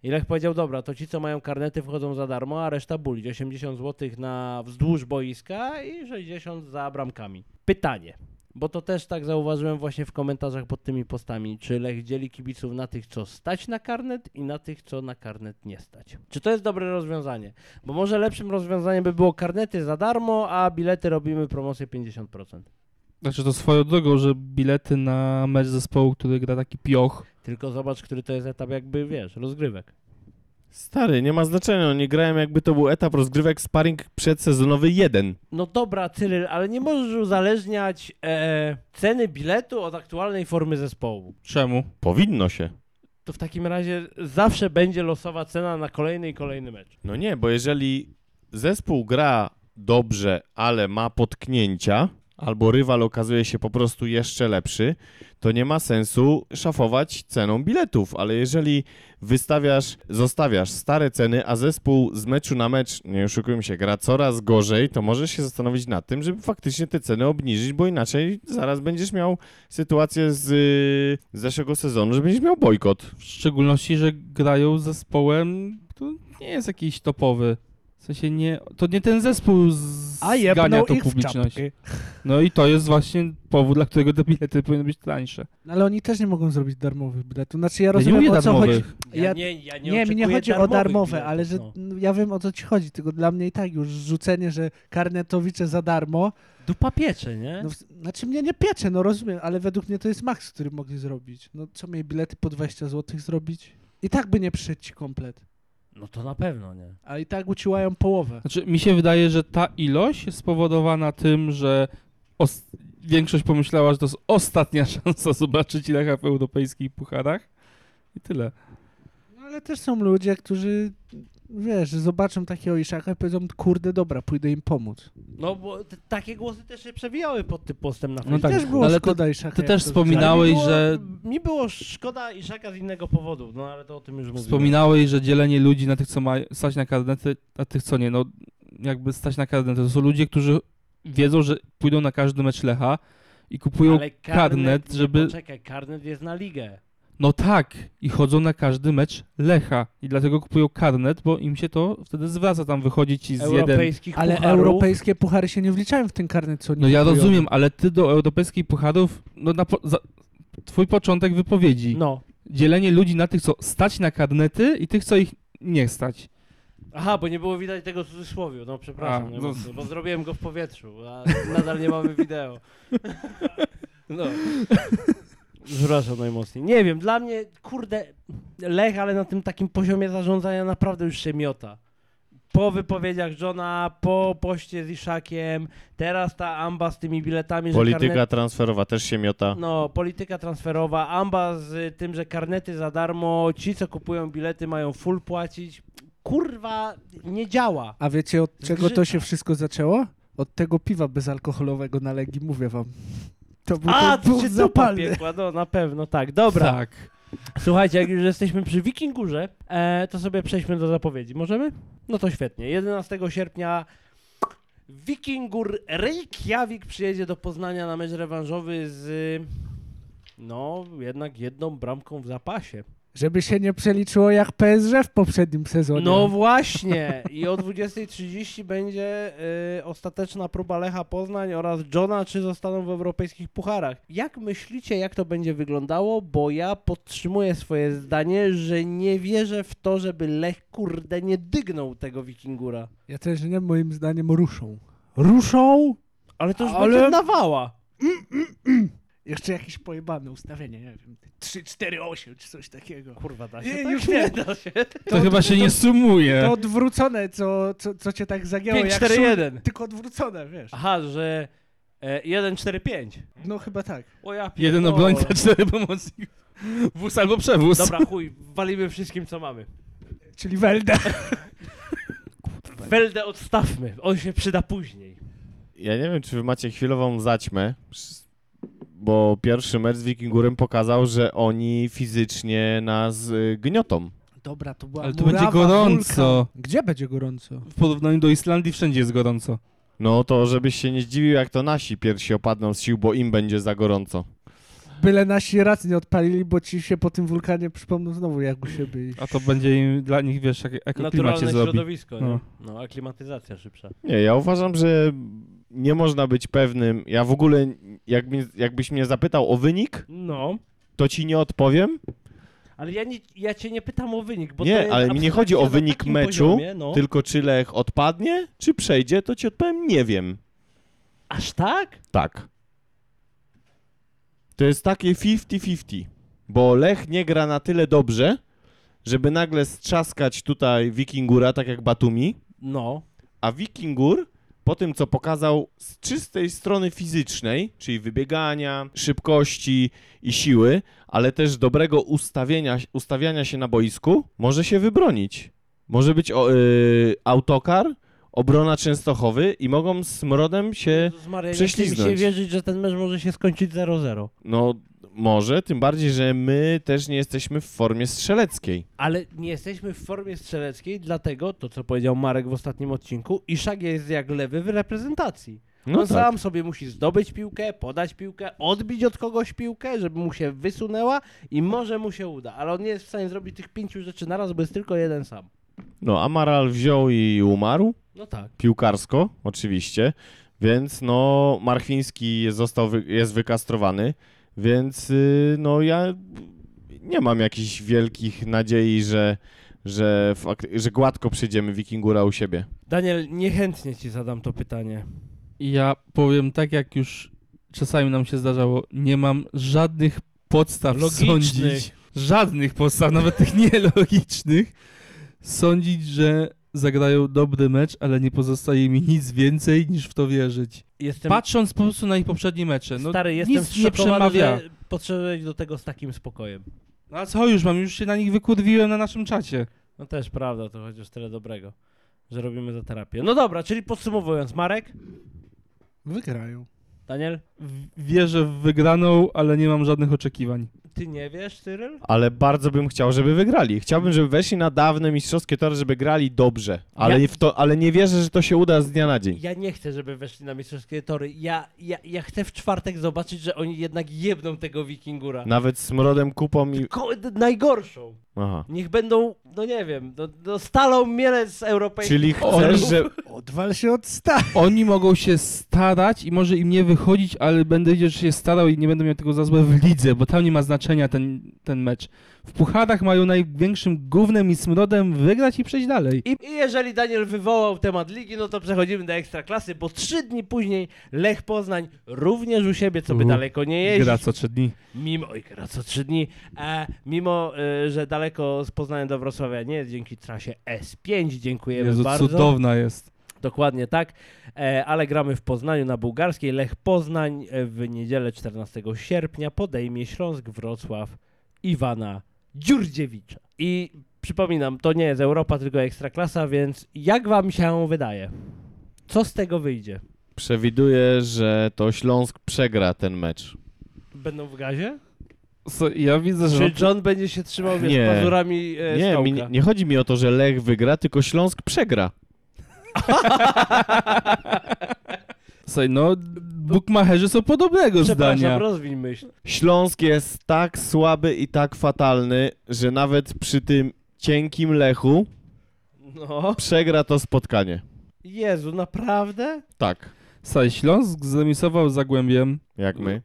[SPEAKER 1] I Lech powiedział, dobra, to ci, co mają karnety, wchodzą za darmo, a reszta bulić. 80 zł na wzdłuż boiska i 60 za bramkami. Pytanie. Bo to też tak zauważyłem właśnie w komentarzach pod tymi postami. Czy Lech dzieli kibiców na tych, co stać na karnet i na tych, co na karnet nie stać? Czy to jest dobre rozwiązanie? Bo może lepszym rozwiązaniem by było karnety za darmo, a bilety robimy promocję 50%.
[SPEAKER 3] Znaczy to swoją drogą, że bilety na mecz zespołu, który gra taki pioch.
[SPEAKER 1] Tylko zobacz, który to jest etap jakby, wiesz, rozgrywek.
[SPEAKER 4] Stary, nie ma znaczenia, no nie grałem jakby to był etap rozgrywek sparring przedsezonowy 1.
[SPEAKER 1] No dobra, Cyryl, ale nie możesz uzależniać e, ceny biletu od aktualnej formy zespołu.
[SPEAKER 3] Czemu?
[SPEAKER 4] Powinno się.
[SPEAKER 1] To w takim razie zawsze będzie losowa cena na kolejny i kolejny mecz.
[SPEAKER 4] No nie, bo jeżeli zespół gra dobrze, ale ma potknięcia, albo rywal okazuje się po prostu jeszcze lepszy, to nie ma sensu szafować ceną biletów. Ale jeżeli wystawiasz, zostawiasz stare ceny, a zespół z meczu na mecz, nie oszukujmy się, gra coraz gorzej, to możesz się zastanowić nad tym, żeby faktycznie te ceny obniżyć, bo inaczej zaraz będziesz miał sytuację z, y, z zeszłego sezonu, że będziesz miał bojkot.
[SPEAKER 3] W szczególności, że grają z zespołem, który nie jest jakiś topowy. W sensie nie, to nie ten zespół z-
[SPEAKER 2] A
[SPEAKER 3] zgania
[SPEAKER 2] jebnął
[SPEAKER 3] tą
[SPEAKER 2] ich w
[SPEAKER 3] publiczność.
[SPEAKER 2] czapki.
[SPEAKER 3] No i to jest właśnie powód, dla którego te bilety powinny być tańsze.
[SPEAKER 2] No ale oni też nie mogą zrobić darmowych biletów. Znaczy ja
[SPEAKER 3] Ja nie
[SPEAKER 2] rozumiem
[SPEAKER 3] mówię tak
[SPEAKER 2] o co chodzi.
[SPEAKER 3] darmowych.
[SPEAKER 2] Ja-
[SPEAKER 1] nie, ja
[SPEAKER 2] Nie, mi nie
[SPEAKER 1] oczekuję
[SPEAKER 2] chodzi o darmowe,
[SPEAKER 1] biletów,
[SPEAKER 2] ale że
[SPEAKER 1] no.
[SPEAKER 2] no, ja wiem o co ci chodzi, tylko dla mnie i tak już rzucenie, że karnetowicze za darmo,
[SPEAKER 1] Dupa piecze, nie?
[SPEAKER 2] no, w- znaczy mnie nie piecze, no rozumiem, ale według mnie to jest maks, który mogli zrobić. No co mieli bilety po 20 zł zrobić? I tak by nie przyszedł ci komplet,
[SPEAKER 1] No to na pewno nie.
[SPEAKER 2] a i tak uciłają połowę.
[SPEAKER 3] Znaczy, mi się wydaje, że ta ilość jest spowodowana tym, że os- większość pomyślała, że to jest ostatnia szansa zobaczyć Lecha w europejskich pucharach. I tyle.
[SPEAKER 2] No ale też są ludzie, którzy wiesz, zobaczą takiego Iszaka i powiedzą, kurde dobra, pójdę im pomóc.
[SPEAKER 1] No bo t- takie głosy też się przewijały pod tym postem na
[SPEAKER 3] No
[SPEAKER 1] Facebooku.
[SPEAKER 3] tak,
[SPEAKER 2] też było
[SPEAKER 3] ale ty-
[SPEAKER 2] szkoda Iszaka.
[SPEAKER 3] ty
[SPEAKER 2] jak
[SPEAKER 3] też
[SPEAKER 2] to
[SPEAKER 1] Ale
[SPEAKER 3] wspominałeś-
[SPEAKER 1] mi
[SPEAKER 3] wspominałeś,
[SPEAKER 1] było-
[SPEAKER 3] że-
[SPEAKER 1] Mi było szkoda Iszaka z innego powodu, no ale to o tym już mówiłem.
[SPEAKER 3] Wspominałeś, że dzielenie ludzi na tych, co ma stać na karnety, a tych, co nie. No, jakby stać na karnety. To są ludzie, którzy wiedzą, że pójdą na każdy mecz Lecha i kupują.
[SPEAKER 1] Ale
[SPEAKER 3] karnet, żeby-
[SPEAKER 1] Czekaj, karnet jest na ligę.
[SPEAKER 3] No tak, i chodzą na każdy mecz Lecha. I dlatego kupują karnet, bo im się to wtedy zwraca. Tam wychodzi ci z jeden
[SPEAKER 1] Europejskich
[SPEAKER 2] Ale
[SPEAKER 1] pucharów.
[SPEAKER 2] europejskie puchary się nie wliczają w ten karnet, co oni
[SPEAKER 3] No ja
[SPEAKER 2] kupują.
[SPEAKER 3] rozumiem, ale ty do europejskich pucharów, no na po, za, twój początek wypowiedzi.
[SPEAKER 1] No.
[SPEAKER 3] Dzielenie ludzi na tych, co stać na karnety i tych, co ich nie stać.
[SPEAKER 1] Aha, bo nie było widać tego cudzysłowiu, no przepraszam,
[SPEAKER 3] A,
[SPEAKER 1] nie
[SPEAKER 3] no.
[SPEAKER 1] mocno, bo zrobiłem go w powietrzu, a nadal nie mamy wideo. No. Przepraszam najmocniej. Nie wiem, dla mnie, kurde, Lech, ale na tym takim poziomie zarządzania naprawdę już się miota. Po wypowiedziach Johna, po poście z Iszakiem, teraz ta amba z tymi biletami, że
[SPEAKER 4] Polityka transferowa też się miota.
[SPEAKER 1] No, polityka transferowa, amba z y, tym, że karnety za darmo, ci co kupują bilety mają full płacić. Kurwa, nie działa.
[SPEAKER 2] A wiecie od czego to
[SPEAKER 1] Zgrzyta.
[SPEAKER 2] się wszystko zaczęło? Od tego piwa bezalkoholowego na Legii, mówię wam. To był
[SPEAKER 1] A,
[SPEAKER 2] to
[SPEAKER 1] to
[SPEAKER 2] był
[SPEAKER 1] się
[SPEAKER 2] zapalny.
[SPEAKER 1] zapiekła, no na pewno, tak. Dobra,
[SPEAKER 3] Tak.
[SPEAKER 1] słuchajcie, jak już jesteśmy przy Wikingurze, e, to sobie przejdźmy do zapowiedzi. Możemy? No to świetnie. 11 sierpnia Wikingur Reykjavik przyjedzie do Poznania na mecz rewanżowy z... y, No, jednak jedną bramką w zapasie.
[SPEAKER 2] Żeby się nie przeliczyło jak PSG w poprzednim sezonie.
[SPEAKER 1] No właśnie. I o 20.30 będzie y, ostateczna próba Lecha Poznań oraz Johna, czy zostaną w europejskich pucharach. Jak myślicie, jak to będzie wyglądało? Bo ja podtrzymuję swoje zdanie, że nie wierzę w to, żeby Lech kurde nie dygnął tego Wikingura.
[SPEAKER 2] Ja też nie, moim zdaniem ruszą. Ruszą?
[SPEAKER 1] Ale to już
[SPEAKER 2] Ale-
[SPEAKER 1] będzie nawała.
[SPEAKER 2] Jeszcze jakieś pojebane ustawienie, nie wiem. 3, 4, 8 czy coś takiego.
[SPEAKER 1] Kurwa, da się.
[SPEAKER 2] Nie,
[SPEAKER 1] tak?
[SPEAKER 2] już
[SPEAKER 1] nie
[SPEAKER 2] nie.
[SPEAKER 1] da się.
[SPEAKER 3] To, chyba się nie sumuje.
[SPEAKER 2] To odwrócone, co, co, co cię tak zagięło. jak
[SPEAKER 1] 5-4-1.
[SPEAKER 2] szul- Tylko odwrócone, wiesz.
[SPEAKER 1] Aha, że e, 1-4-5.
[SPEAKER 2] No chyba tak.
[SPEAKER 1] O ja
[SPEAKER 3] Jeden
[SPEAKER 1] pierdolę.
[SPEAKER 3] obrońca, cztery pomocników. Wóz albo przewóz.
[SPEAKER 1] Dobra, chuj, walimy wszystkim, co mamy.
[SPEAKER 2] Czyli Welda.
[SPEAKER 1] Feldę odstawmy, on się przyda później.
[SPEAKER 4] Ja nie wiem, czy wy macie chwilową zaćmę, bo pierwszy mecz z Wikingurem pokazał, że oni fizycznie nas y, gniotą.
[SPEAKER 2] Dobra, to była
[SPEAKER 3] Ale tu
[SPEAKER 2] murawa,
[SPEAKER 3] będzie gorąco.
[SPEAKER 2] Wulkan. Gdzie będzie gorąco?
[SPEAKER 3] W porównaniu do Islandii wszędzie jest gorąco.
[SPEAKER 4] No to żebyś się nie zdziwił, jak to nasi pierwsi opadną z sił, bo im będzie za gorąco.
[SPEAKER 2] Byle nasi raz nie odpalili, bo ci się po tym wulkanie przypomną znowu, jak u siebie. i-
[SPEAKER 3] A to będzie im, dla nich, wiesz, jak ekoklimat się
[SPEAKER 1] Naturalne
[SPEAKER 3] zrobi.
[SPEAKER 1] środowisko, nie?
[SPEAKER 3] No.
[SPEAKER 1] No, aklimatyzacja szybsza.
[SPEAKER 4] Nie, ja uważam, że nie można być pewnym. Ja w ogóle, jak, mi- jakbyś mnie zapytał o wynik,
[SPEAKER 1] No,
[SPEAKER 4] to ci nie odpowiem,
[SPEAKER 1] ale ja, nie, ja cię nie pytam o wynik, bo
[SPEAKER 4] Nie,
[SPEAKER 1] to jest
[SPEAKER 4] ale mi nie chodzi o
[SPEAKER 1] abstrakcja na
[SPEAKER 4] wynik
[SPEAKER 1] takim
[SPEAKER 4] meczu,
[SPEAKER 1] poziomie, no.
[SPEAKER 4] tylko czy Lech odpadnie, czy przejdzie, to ci odpowiem nie wiem.
[SPEAKER 1] Aż tak?
[SPEAKER 4] Tak. To jest takie 50-50, bo Lech nie gra na tyle dobrze, żeby nagle strzaskać tutaj Wikingura, tak jak Batumi,
[SPEAKER 1] No.
[SPEAKER 4] a Wikingur po tym, co pokazał z czystej strony fizycznej, czyli wybiegania, szybkości i siły, ale też dobrego ustawienia, ustawiania się na boisku, może się wybronić. Może być o, y, autokar, obrona Częstochowy i mogą z Mrodem się,
[SPEAKER 1] Z Maria, nie chce mi
[SPEAKER 4] prześliznąć.
[SPEAKER 1] się wierzyć, że ten mecz może się skończyć 0-0.
[SPEAKER 4] no może, tym bardziej, że my też nie jesteśmy w formie strzeleckiej.
[SPEAKER 1] Ale nie jesteśmy w formie strzeleckiej, dlatego to, co powiedział Marek w ostatnim odcinku, Iszak jest jak lewy w reprezentacji.
[SPEAKER 4] No
[SPEAKER 1] on
[SPEAKER 4] tak.
[SPEAKER 1] sam sobie musi zdobyć piłkę, podać piłkę, odbić od kogoś piłkę, żeby mu się wysunęła i może mu się uda, ale on nie jest w stanie zrobić tych pięciu rzeczy naraz, bo jest tylko jeden sam.
[SPEAKER 4] No, Amaral wziął i umarł.
[SPEAKER 1] No tak.
[SPEAKER 4] piłkarsko, oczywiście, więc no Marchwiński jest, został, wy- jest wykastrowany, więc y, no ja nie mam jakichś wielkich nadziei, że, że, fak- że gładko przyjdziemy Wikingura u siebie.
[SPEAKER 1] Daniel, niechętnie ci zadam to pytanie.
[SPEAKER 3] Ja powiem tak, jak już czasami nam się zdarzało, nie mam żadnych podstaw
[SPEAKER 1] Logicznych.
[SPEAKER 3] sądzić, żadnych podstaw, nawet tych nielogicznych, sądzić, że zagrają dobry mecz, ale nie pozostaje mi nic więcej niż w to wierzyć.
[SPEAKER 1] Jestem
[SPEAKER 3] Patrząc po prostu na ich poprzednie mecze, no
[SPEAKER 1] stary, jestem
[SPEAKER 3] nic nie
[SPEAKER 1] zszokowany,
[SPEAKER 3] przemawia.
[SPEAKER 1] że podszedłeś do tego z takim spokojem.
[SPEAKER 3] No a co już mam, już się na nich wykurwiłem na naszym czacie.
[SPEAKER 1] No też prawda, to chociaż tyle dobrego, że robimy za terapię. No dobra, czyli podsumowując, Marek,
[SPEAKER 2] Wygrają.
[SPEAKER 1] Daniel,
[SPEAKER 3] W- Wierzę w wygraną, ale nie mam żadnych oczekiwań.
[SPEAKER 1] ty nie wiesz, Cyryl?
[SPEAKER 4] Ale bardzo bym chciał, żeby wygrali. Chciałbym, żeby weszli na dawne mistrzowskie tory, żeby grali dobrze, ale,
[SPEAKER 1] Ja-
[SPEAKER 4] w to, ale nie wierzę, że to się uda z dnia na dzień.
[SPEAKER 1] Ja nie chcę, żeby weszli na mistrzowskie tory. Ja, ja, ja chcę w czwartek zobaczyć, że oni jednak jedną tego wikingura.
[SPEAKER 4] Nawet z mrodem kupą i...
[SPEAKER 1] Ko- d- najgorszą.
[SPEAKER 4] Aha.
[SPEAKER 1] Niech będą, no nie wiem, no, no stalą mielec europejskich.
[SPEAKER 4] Czyli
[SPEAKER 1] pucharów.
[SPEAKER 4] chcesz, że...
[SPEAKER 2] Odwal się od sta.
[SPEAKER 3] Oni mogą się starać i może im nie wychodzić, ale będę wiedział, że się starał i nie będę miał tego za złe w lidze, bo tam nie ma znaczenia ten, ten mecz. W pucharach mają największym gównem i smrodem wygrać i przejść dalej.
[SPEAKER 1] I, I jeżeli Daniel wywołał temat ligi, no to przechodzimy do ekstraklasy, bo trzy dni później Lech Poznań również u siebie, co by
[SPEAKER 3] U,
[SPEAKER 1] daleko nie jeździć.
[SPEAKER 3] Gra co trzy dni.
[SPEAKER 1] Mimo, oj, gra co trzy dni, e, mimo, e, że daleko z Poznania do Wrocławia nie jest, dzięki trasie S5, dziękujemy
[SPEAKER 3] Jezu,
[SPEAKER 1] bardzo.
[SPEAKER 3] cudowna jest.
[SPEAKER 1] Dokładnie tak, e, ale gramy w Poznaniu na bułgarskiej. Lech Poznań e, w niedzielę 14 sierpnia podejmie Śląsk Wrocław Iwana Dziurdziewicza. I przypominam, to nie jest Europa, tylko Ekstraklasa, więc jak wam się wydaje? Co z tego wyjdzie?
[SPEAKER 4] Przewiduję, że to Śląsk przegra ten mecz.
[SPEAKER 1] Będą w gazie?
[SPEAKER 3] So, ja widzę, że...
[SPEAKER 1] Czy John będzie się trzymał wiesz,
[SPEAKER 4] No. Nie.
[SPEAKER 1] pazurami e,
[SPEAKER 4] Nie, mi,
[SPEAKER 1] stołka?
[SPEAKER 4] nie- nie chodzi mi o to, że Lech wygra, tylko Śląsk przegra.
[SPEAKER 3] Słuchaj, no, bukmacherzy są podobnego
[SPEAKER 1] Przepraszam,
[SPEAKER 3] zdania.
[SPEAKER 1] rozwiń myśl.
[SPEAKER 4] Śląsk jest tak słaby i tak fatalny, że nawet przy tym cienkim Lechu
[SPEAKER 1] No.
[SPEAKER 4] przegra to spotkanie.
[SPEAKER 1] Jezu, naprawdę?
[SPEAKER 4] Tak,
[SPEAKER 3] Słuchaj, Śląsk zremisował z Zagłębiem,
[SPEAKER 4] jak my.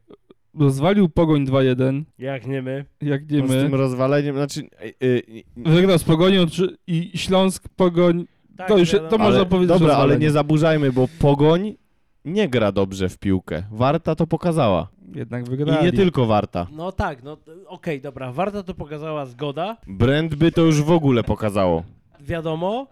[SPEAKER 3] rozwalił Pogoń 2-1,
[SPEAKER 1] Jak nie my.
[SPEAKER 3] jak nie
[SPEAKER 4] No, z
[SPEAKER 3] my.
[SPEAKER 4] tym rozwaleniem, znaczy... y, y, y,
[SPEAKER 3] Wygrał z Pogonią czy- i Śląsk, Pogoń...
[SPEAKER 1] Tak,
[SPEAKER 3] To już-
[SPEAKER 1] wiadomo.
[SPEAKER 3] to można powiedzieć, że
[SPEAKER 4] Dobra, ale
[SPEAKER 3] rozwalenie.
[SPEAKER 4] nie zaburzajmy, bo Pogoń nie gra dobrze w piłkę. Warta to pokazała.
[SPEAKER 3] Jednak
[SPEAKER 4] I
[SPEAKER 3] wygrali.
[SPEAKER 4] nie tylko Warta.
[SPEAKER 1] No tak, no t- okej, dobra, Warta to pokazała zgoda,
[SPEAKER 4] Brandby to już w ogóle pokazało.
[SPEAKER 1] wiadomo,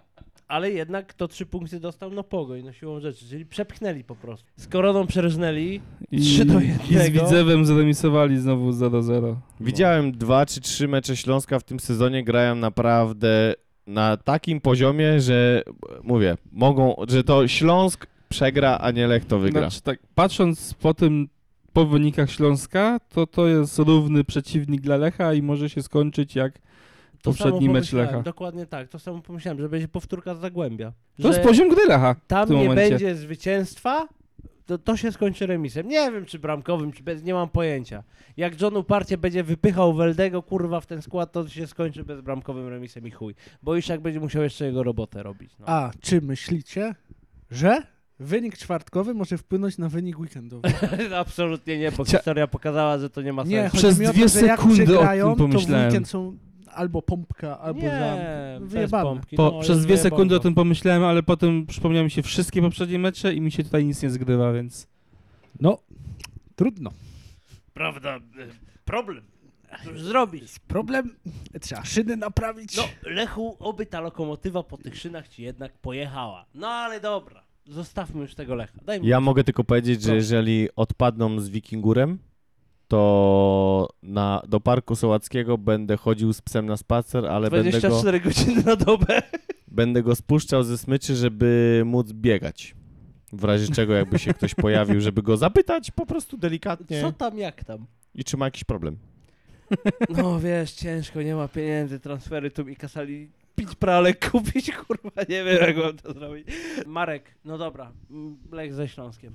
[SPEAKER 1] ale jednak to trzy punkty dostał no pogoń, no siłą rzeczy, czyli przepchnęli po prostu. Z koroną przerżnęli,
[SPEAKER 3] I,
[SPEAKER 1] Trzy do
[SPEAKER 3] I z
[SPEAKER 1] jednego.
[SPEAKER 3] Widzewem zremisowali znowu 0-0.
[SPEAKER 4] Widziałem dwa czy trzy mecze Śląska w tym sezonie, grają naprawdę na takim poziomie, że e, mówię, mogą, że to Śląsk przegra, a nie Lech to wygra.
[SPEAKER 3] Znaczy, tak, patrząc po tym, po wynikach Śląska, to to jest równy przeciwnik dla Lecha i może się skończyć jak
[SPEAKER 1] to
[SPEAKER 3] poprzedni
[SPEAKER 1] samo
[SPEAKER 3] mecz
[SPEAKER 1] pomyślałem,
[SPEAKER 3] Lecha.
[SPEAKER 1] Dokładnie tak, to samo pomyślałem, że będzie powtórka z Zagłębia.
[SPEAKER 3] To
[SPEAKER 1] że
[SPEAKER 3] jest poziom gry Lecha w
[SPEAKER 1] tam
[SPEAKER 3] tym
[SPEAKER 1] nie
[SPEAKER 3] momencie.
[SPEAKER 1] będzie zwycięstwa, to, to się skończy remisem. Nie wiem, czy bramkowym, czy bez, nie mam pojęcia. Jak John uparcie będzie wypychał Weldego, kurwa, w ten skład, to się skończy bezbramkowym remisem i chuj. Bo Iszak będzie musiał jeszcze jego robotę robić. No.
[SPEAKER 2] A czy myślicie, że Wynik czwartkowy może wpłynąć na wynik weekendowy.
[SPEAKER 1] Absolutnie nie, bo
[SPEAKER 3] Chcia-
[SPEAKER 1] historia pokazała, że to nie ma sensu.
[SPEAKER 2] Nie, chodzi
[SPEAKER 3] Przez
[SPEAKER 2] mi o to,
[SPEAKER 3] dwie
[SPEAKER 2] że jak
[SPEAKER 3] sekundy o
[SPEAKER 2] przegrają,
[SPEAKER 3] tym
[SPEAKER 2] To w
[SPEAKER 3] pomyślałem.
[SPEAKER 2] weekend są albo pompka, albo żam.
[SPEAKER 1] nie, bez
[SPEAKER 2] Wyjebane.
[SPEAKER 1] pompki.
[SPEAKER 3] Po,
[SPEAKER 1] No,
[SPEAKER 3] przez
[SPEAKER 1] jest
[SPEAKER 3] dwie sekundy o
[SPEAKER 1] wyjebane.
[SPEAKER 3] tym pomyślałem, ale potem przypomniały mi się wszystkie poprzednie mecze i mi się tutaj nic nie zgrywa, więc...
[SPEAKER 2] No, trudno.
[SPEAKER 1] Prawda, y, problem. Cóż zrobić?
[SPEAKER 2] Problem, trzeba szyny naprawić.
[SPEAKER 1] No, Lechu, oby ta lokomotywa po tych szynach ci jednak pojechała. No ale dobra, zostawmy już tego Lecha. Daj mi
[SPEAKER 4] Ja mogę tylko powiedzieć, że
[SPEAKER 1] Proszę.
[SPEAKER 4] jeżeli odpadną z Wikingurem, to na, do Parku Sołackiego będę chodził z psem na spacer, ale będę go,
[SPEAKER 1] 24 godziny na dobę.
[SPEAKER 4] będę go spuszczał ze smyczy, żeby móc biegać. W razie czego, jakby się ktoś pojawił, żeby go zapytać po prostu
[SPEAKER 1] Co
[SPEAKER 4] delikatnie
[SPEAKER 1] tam, jak tam?
[SPEAKER 4] i czy ma jakiś problem.
[SPEAKER 1] No wiesz, ciężko, nie ma pieniędzy, transfery tu mi kasali pić pralek, kupić, kurwa, nie wiem jak mam to zrobić. Marek, no dobra, mm, Lech ze Śląskiem.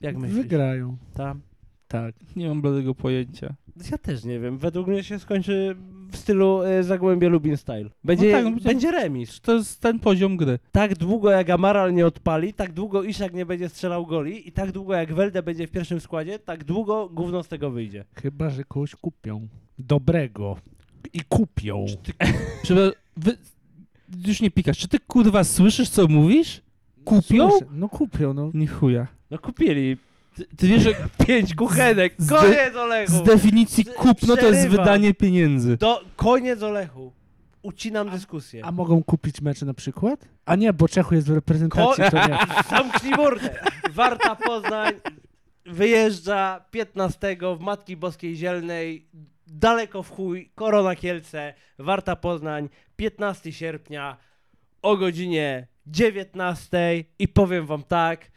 [SPEAKER 1] Jak myślisz?
[SPEAKER 2] Wygrają.
[SPEAKER 1] Tam?
[SPEAKER 2] Tak.
[SPEAKER 3] Nie mam bladego pojęcia.
[SPEAKER 1] Ja też nie wiem, według mnie się skończy w stylu e, Zagłębia Lubin Style. Będzie,
[SPEAKER 3] No tak, no będzie-
[SPEAKER 1] będzie remis.
[SPEAKER 3] To jest ten poziom gry.
[SPEAKER 1] tak długo jak Amaral nie odpali, tak długo Iszak nie będzie strzelał goli i tak długo jak Welde będzie w pierwszym składzie, tak długo gówno z tego wyjdzie.
[SPEAKER 2] Chyba, że kogoś kupią. Dobrego. I kupią.
[SPEAKER 3] Przepraszam, wy... Już nie pikasz. Czy ty, kurwa, słyszysz, co mówisz? Kupią?
[SPEAKER 2] Słyszę. No kupią, no.
[SPEAKER 3] Nie chuja.
[SPEAKER 1] No kupili
[SPEAKER 3] Ty, ty wiesz, że
[SPEAKER 1] pięć kuchenek,
[SPEAKER 3] Z-
[SPEAKER 1] koniec Olechu!
[SPEAKER 3] z definicji
[SPEAKER 1] Z-
[SPEAKER 3] kupno to jest
[SPEAKER 1] przerywa.
[SPEAKER 3] wydanie pieniędzy.
[SPEAKER 1] Do, koniec Olechu. Ucinam dyskusję.
[SPEAKER 2] A mogą kupić mecze na przykład? A nie, bo Czechu jest w reprezentacji,
[SPEAKER 1] Ko-
[SPEAKER 2] to nie.
[SPEAKER 1] Zamknij mordę! Warta Poznań wyjeżdża 15 w Matki Boskiej Zielnej, daleko w chuj, Korona Kielce, Warta Poznań, 15 sierpnia o godzinie 19 i powiem wam tak,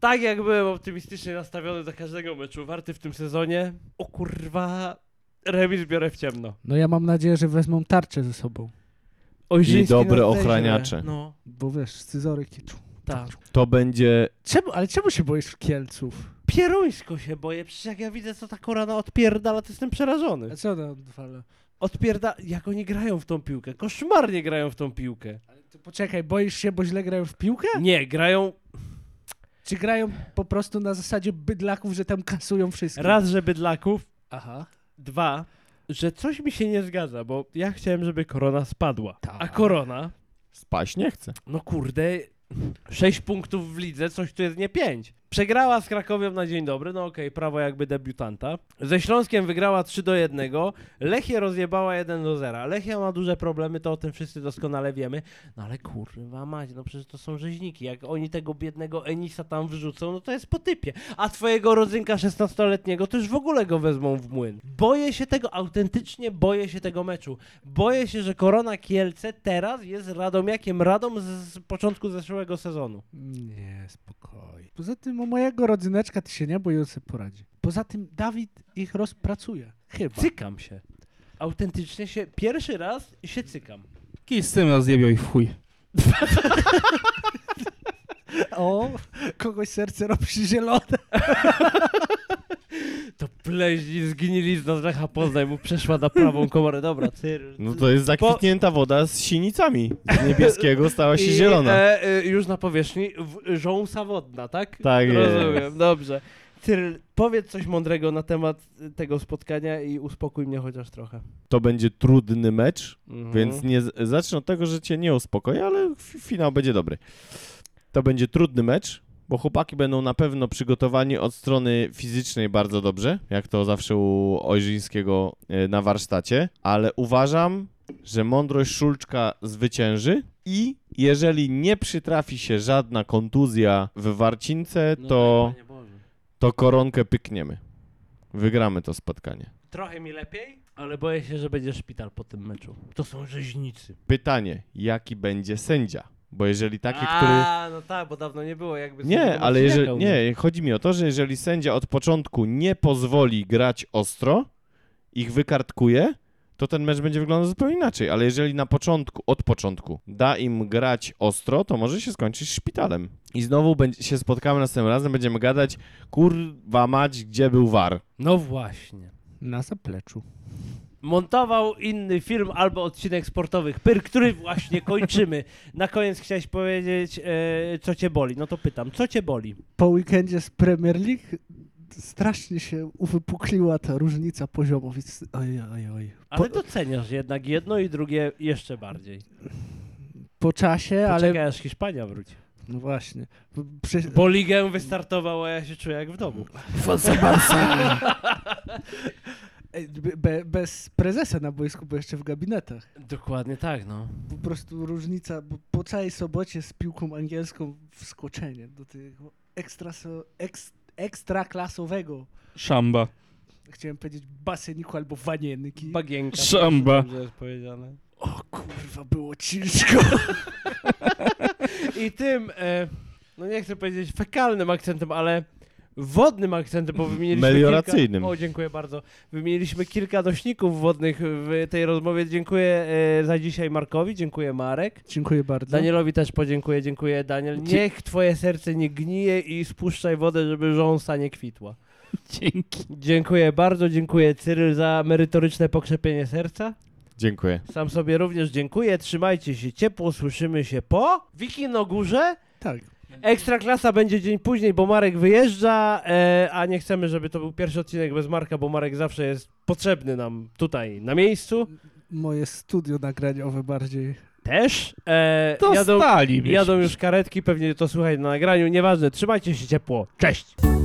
[SPEAKER 1] tak jak byłem optymistycznie nastawiony do każdego meczu Warty w tym sezonie, o kurwa, remis biorę w ciemno.
[SPEAKER 2] No ja mam nadzieję, że wezmą tarczę ze sobą.
[SPEAKER 1] Ojrzyński
[SPEAKER 4] I dobre
[SPEAKER 1] na zeźle.
[SPEAKER 4] ochraniacze.
[SPEAKER 1] No,
[SPEAKER 2] Bo wiesz, scyzory kiczu.
[SPEAKER 1] tak.
[SPEAKER 4] To będzie
[SPEAKER 2] Czemu, ale czemu się boisz Kielców?
[SPEAKER 1] Pieruńsko się boję, przecież jak ja widzę, co ta korana odpierdala, to jestem przerażony.
[SPEAKER 2] A co ona odwala?
[SPEAKER 1] Odpierda... Jak oni grają w tą piłkę? Koszmarnie grają w tą piłkę.
[SPEAKER 2] To poczekaj, boisz się, bo źle grają w piłkę?
[SPEAKER 1] Nie, grają
[SPEAKER 2] Czy grają po prostu na zasadzie bydlaków, że tam kasują wszystko?
[SPEAKER 1] raz, że bydlaków,
[SPEAKER 2] Aha.
[SPEAKER 1] dwa, że coś mi się nie zgadza, bo ja chciałem, żeby korona spadła.
[SPEAKER 2] Tak.
[SPEAKER 1] A korona,
[SPEAKER 4] spaść, nie chcę.
[SPEAKER 1] no kurde, sześć punktów w lidze, coś tu jest nie pięć. Przegrała z Krakowią na dzień dobry, no okej, prawo jakby debiutanta. Ze Śląskiem wygrała 3 do 1, Lechia rozjebała 1 do 0. Lechia ma duże problemy, to o tym wszyscy doskonale wiemy. No ale kurwa mać, no przecież to są rzeźniki. Jak oni tego biednego Enisa tam wyrzucą, no to jest po typie. A twojego rodzynka 16-letniego to już w ogóle go wezmą w młyn. Boję się tego, autentycznie boję się tego meczu. Boję się, że Korona Kielce teraz jest Radomiakiem Radom z, z początku zeszłego sezonu.
[SPEAKER 2] Nie, spokojnie. Poza tym o mojego rodzyneczka ty się nie bój, on sobie poradzi. Poza tym Dawid ich rozpracuje. Chyba.
[SPEAKER 1] Cykam się. Autentycznie się, pierwszy raz się cykam.
[SPEAKER 3] Kij z tym rozjebią i w chuj.
[SPEAKER 2] O, kogoś serce robi się zielone.
[SPEAKER 1] To pleźni zgnili z Lecha Poznań, mu przeszła na prawą komorę. Dobra, ty...
[SPEAKER 4] No to jest zakwitnięta woda z sinicami. Z niebieskiego stała się zielona.
[SPEAKER 1] E, e, już na powierzchni, w, żąsa wodna, tak?
[SPEAKER 4] Tak jest.
[SPEAKER 1] Rozumiem, dobrze. Cyrl, powiedz coś mądrego na temat y, tego spotkania i uspokój mnie chociaż trochę.
[SPEAKER 4] To będzie trudny mecz.
[SPEAKER 1] Mhm.
[SPEAKER 4] Więc nie, zacznę od tego, że cię nie uspokoi, ale fi- finał będzie dobry. To będzie trudny mecz, bo chłopaki będą na pewno przygotowani od strony fizycznej bardzo dobrze, jak to zawsze u Ojrzyńskiego e, na warsztacie, ale uważam, że mądrość Szulczka zwycięży i jeżeli nie przytrafi się żadna kontuzja w Warcince,
[SPEAKER 1] No
[SPEAKER 4] to,
[SPEAKER 1] tak, Panie Boże.
[SPEAKER 4] to koronkę pykniemy. Wygramy to spotkanie.
[SPEAKER 1] Trochę mi lepiej, ale boję się, że będzie szpital po tym meczu. To są rzeźnicy.
[SPEAKER 4] Pytanie, jaki będzie sędzia? Bo jeżeli taki, który...
[SPEAKER 1] A, no tak, bo dawno nie było jakby...
[SPEAKER 4] Nie,
[SPEAKER 1] sędziego
[SPEAKER 4] ale jeżeli,
[SPEAKER 1] Marciniaka u mnie.
[SPEAKER 4] nie, chodzi mi o to, że jeżeli sędzia od początku nie pozwoli grać ostro, ich wykartkuje, to ten mecz będzie wyglądał zupełnie inaczej. Ale jeżeli na początku, od początku da im grać ostro, to może się skończyć szpitalem. I znowu będzie, się spotkamy następnym razem, będziemy gadać, kurwa mać, gdzie był war.
[SPEAKER 1] No właśnie.
[SPEAKER 2] Na zapleczu.
[SPEAKER 1] montował inny film albo odcinek sportowych Pyr, który właśnie kończymy. Na koniec chciałeś powiedzieć, e, co cię boli. No to pytam, co cię boli?
[SPEAKER 2] Po weekendzie z Premier League strasznie się uwypukliła ta różnica poziomów. więc- Oj, oj, oj. Po,
[SPEAKER 1] Ale doceniasz jednak jedno i drugie jeszcze bardziej.
[SPEAKER 2] po czasie,
[SPEAKER 1] Poczekaj,
[SPEAKER 2] ale...
[SPEAKER 1] ale... aż Hiszpania wróci.
[SPEAKER 2] No właśnie. W- Prze...
[SPEAKER 1] Bo ligę wystartowała, ja się czuję jak w domu.
[SPEAKER 2] Ej, be- Be, bez prezesa na boisku, bo jeszcze w gabinetach.
[SPEAKER 1] Dokładnie tak, no.
[SPEAKER 2] po prostu różnica, bo po całej sobocie z piłką angielską wskoczenie do tego ekstra, eks, ekstraklasowego,
[SPEAKER 3] Szamba.
[SPEAKER 2] chciałem powiedzieć, baseniku albo wanienki.
[SPEAKER 1] Bagienka.
[SPEAKER 3] Szamba.
[SPEAKER 1] Dobrze jest powiedziane.
[SPEAKER 2] o kurwa, było ciężko.
[SPEAKER 1] I tym, e, no nie chcę powiedzieć fekalnym akcentem, ale wodnym akcentem, bo wymieniliśmy
[SPEAKER 4] Melioracyjnym.
[SPEAKER 1] Kilka, o, dziękuję bardzo. Wymieniliśmy kilka nośników wodnych w tej rozmowie. Dziękuję e, za dzisiaj Markowi, dziękuję Marek.
[SPEAKER 2] Dziękuję bardzo.
[SPEAKER 1] Danielowi też podziękuję, dziękuję Daniel.
[SPEAKER 3] Dzie-
[SPEAKER 1] Niech twoje serce nie gnije i spuszczaj wodę, żeby żąsa nie kwitła.
[SPEAKER 3] Dzięki.
[SPEAKER 1] Dziękuję bardzo, dziękuję Cyryl za merytoryczne pokrzepienie serca.
[SPEAKER 4] Dziękuję.
[SPEAKER 1] Sam sobie również dziękuję, trzymajcie się ciepło, słyszymy się po Wiki na górze.
[SPEAKER 2] tak.
[SPEAKER 1] Ekstraklasa będzie dzień później, bo Marek wyjeżdża, e, a nie chcemy, żeby to był pierwszy odcinek bez Marka, bo Marek zawsze jest potrzebny nam tutaj na miejscu.
[SPEAKER 2] Moje studio nagraniowe bardziej.
[SPEAKER 1] Też. E,
[SPEAKER 3] To
[SPEAKER 1] jadą,
[SPEAKER 3] stali.
[SPEAKER 1] jadą już karetki, pewnie to słuchaj na nagraniu. Nieważne, trzymajcie się ciepło. Cześć!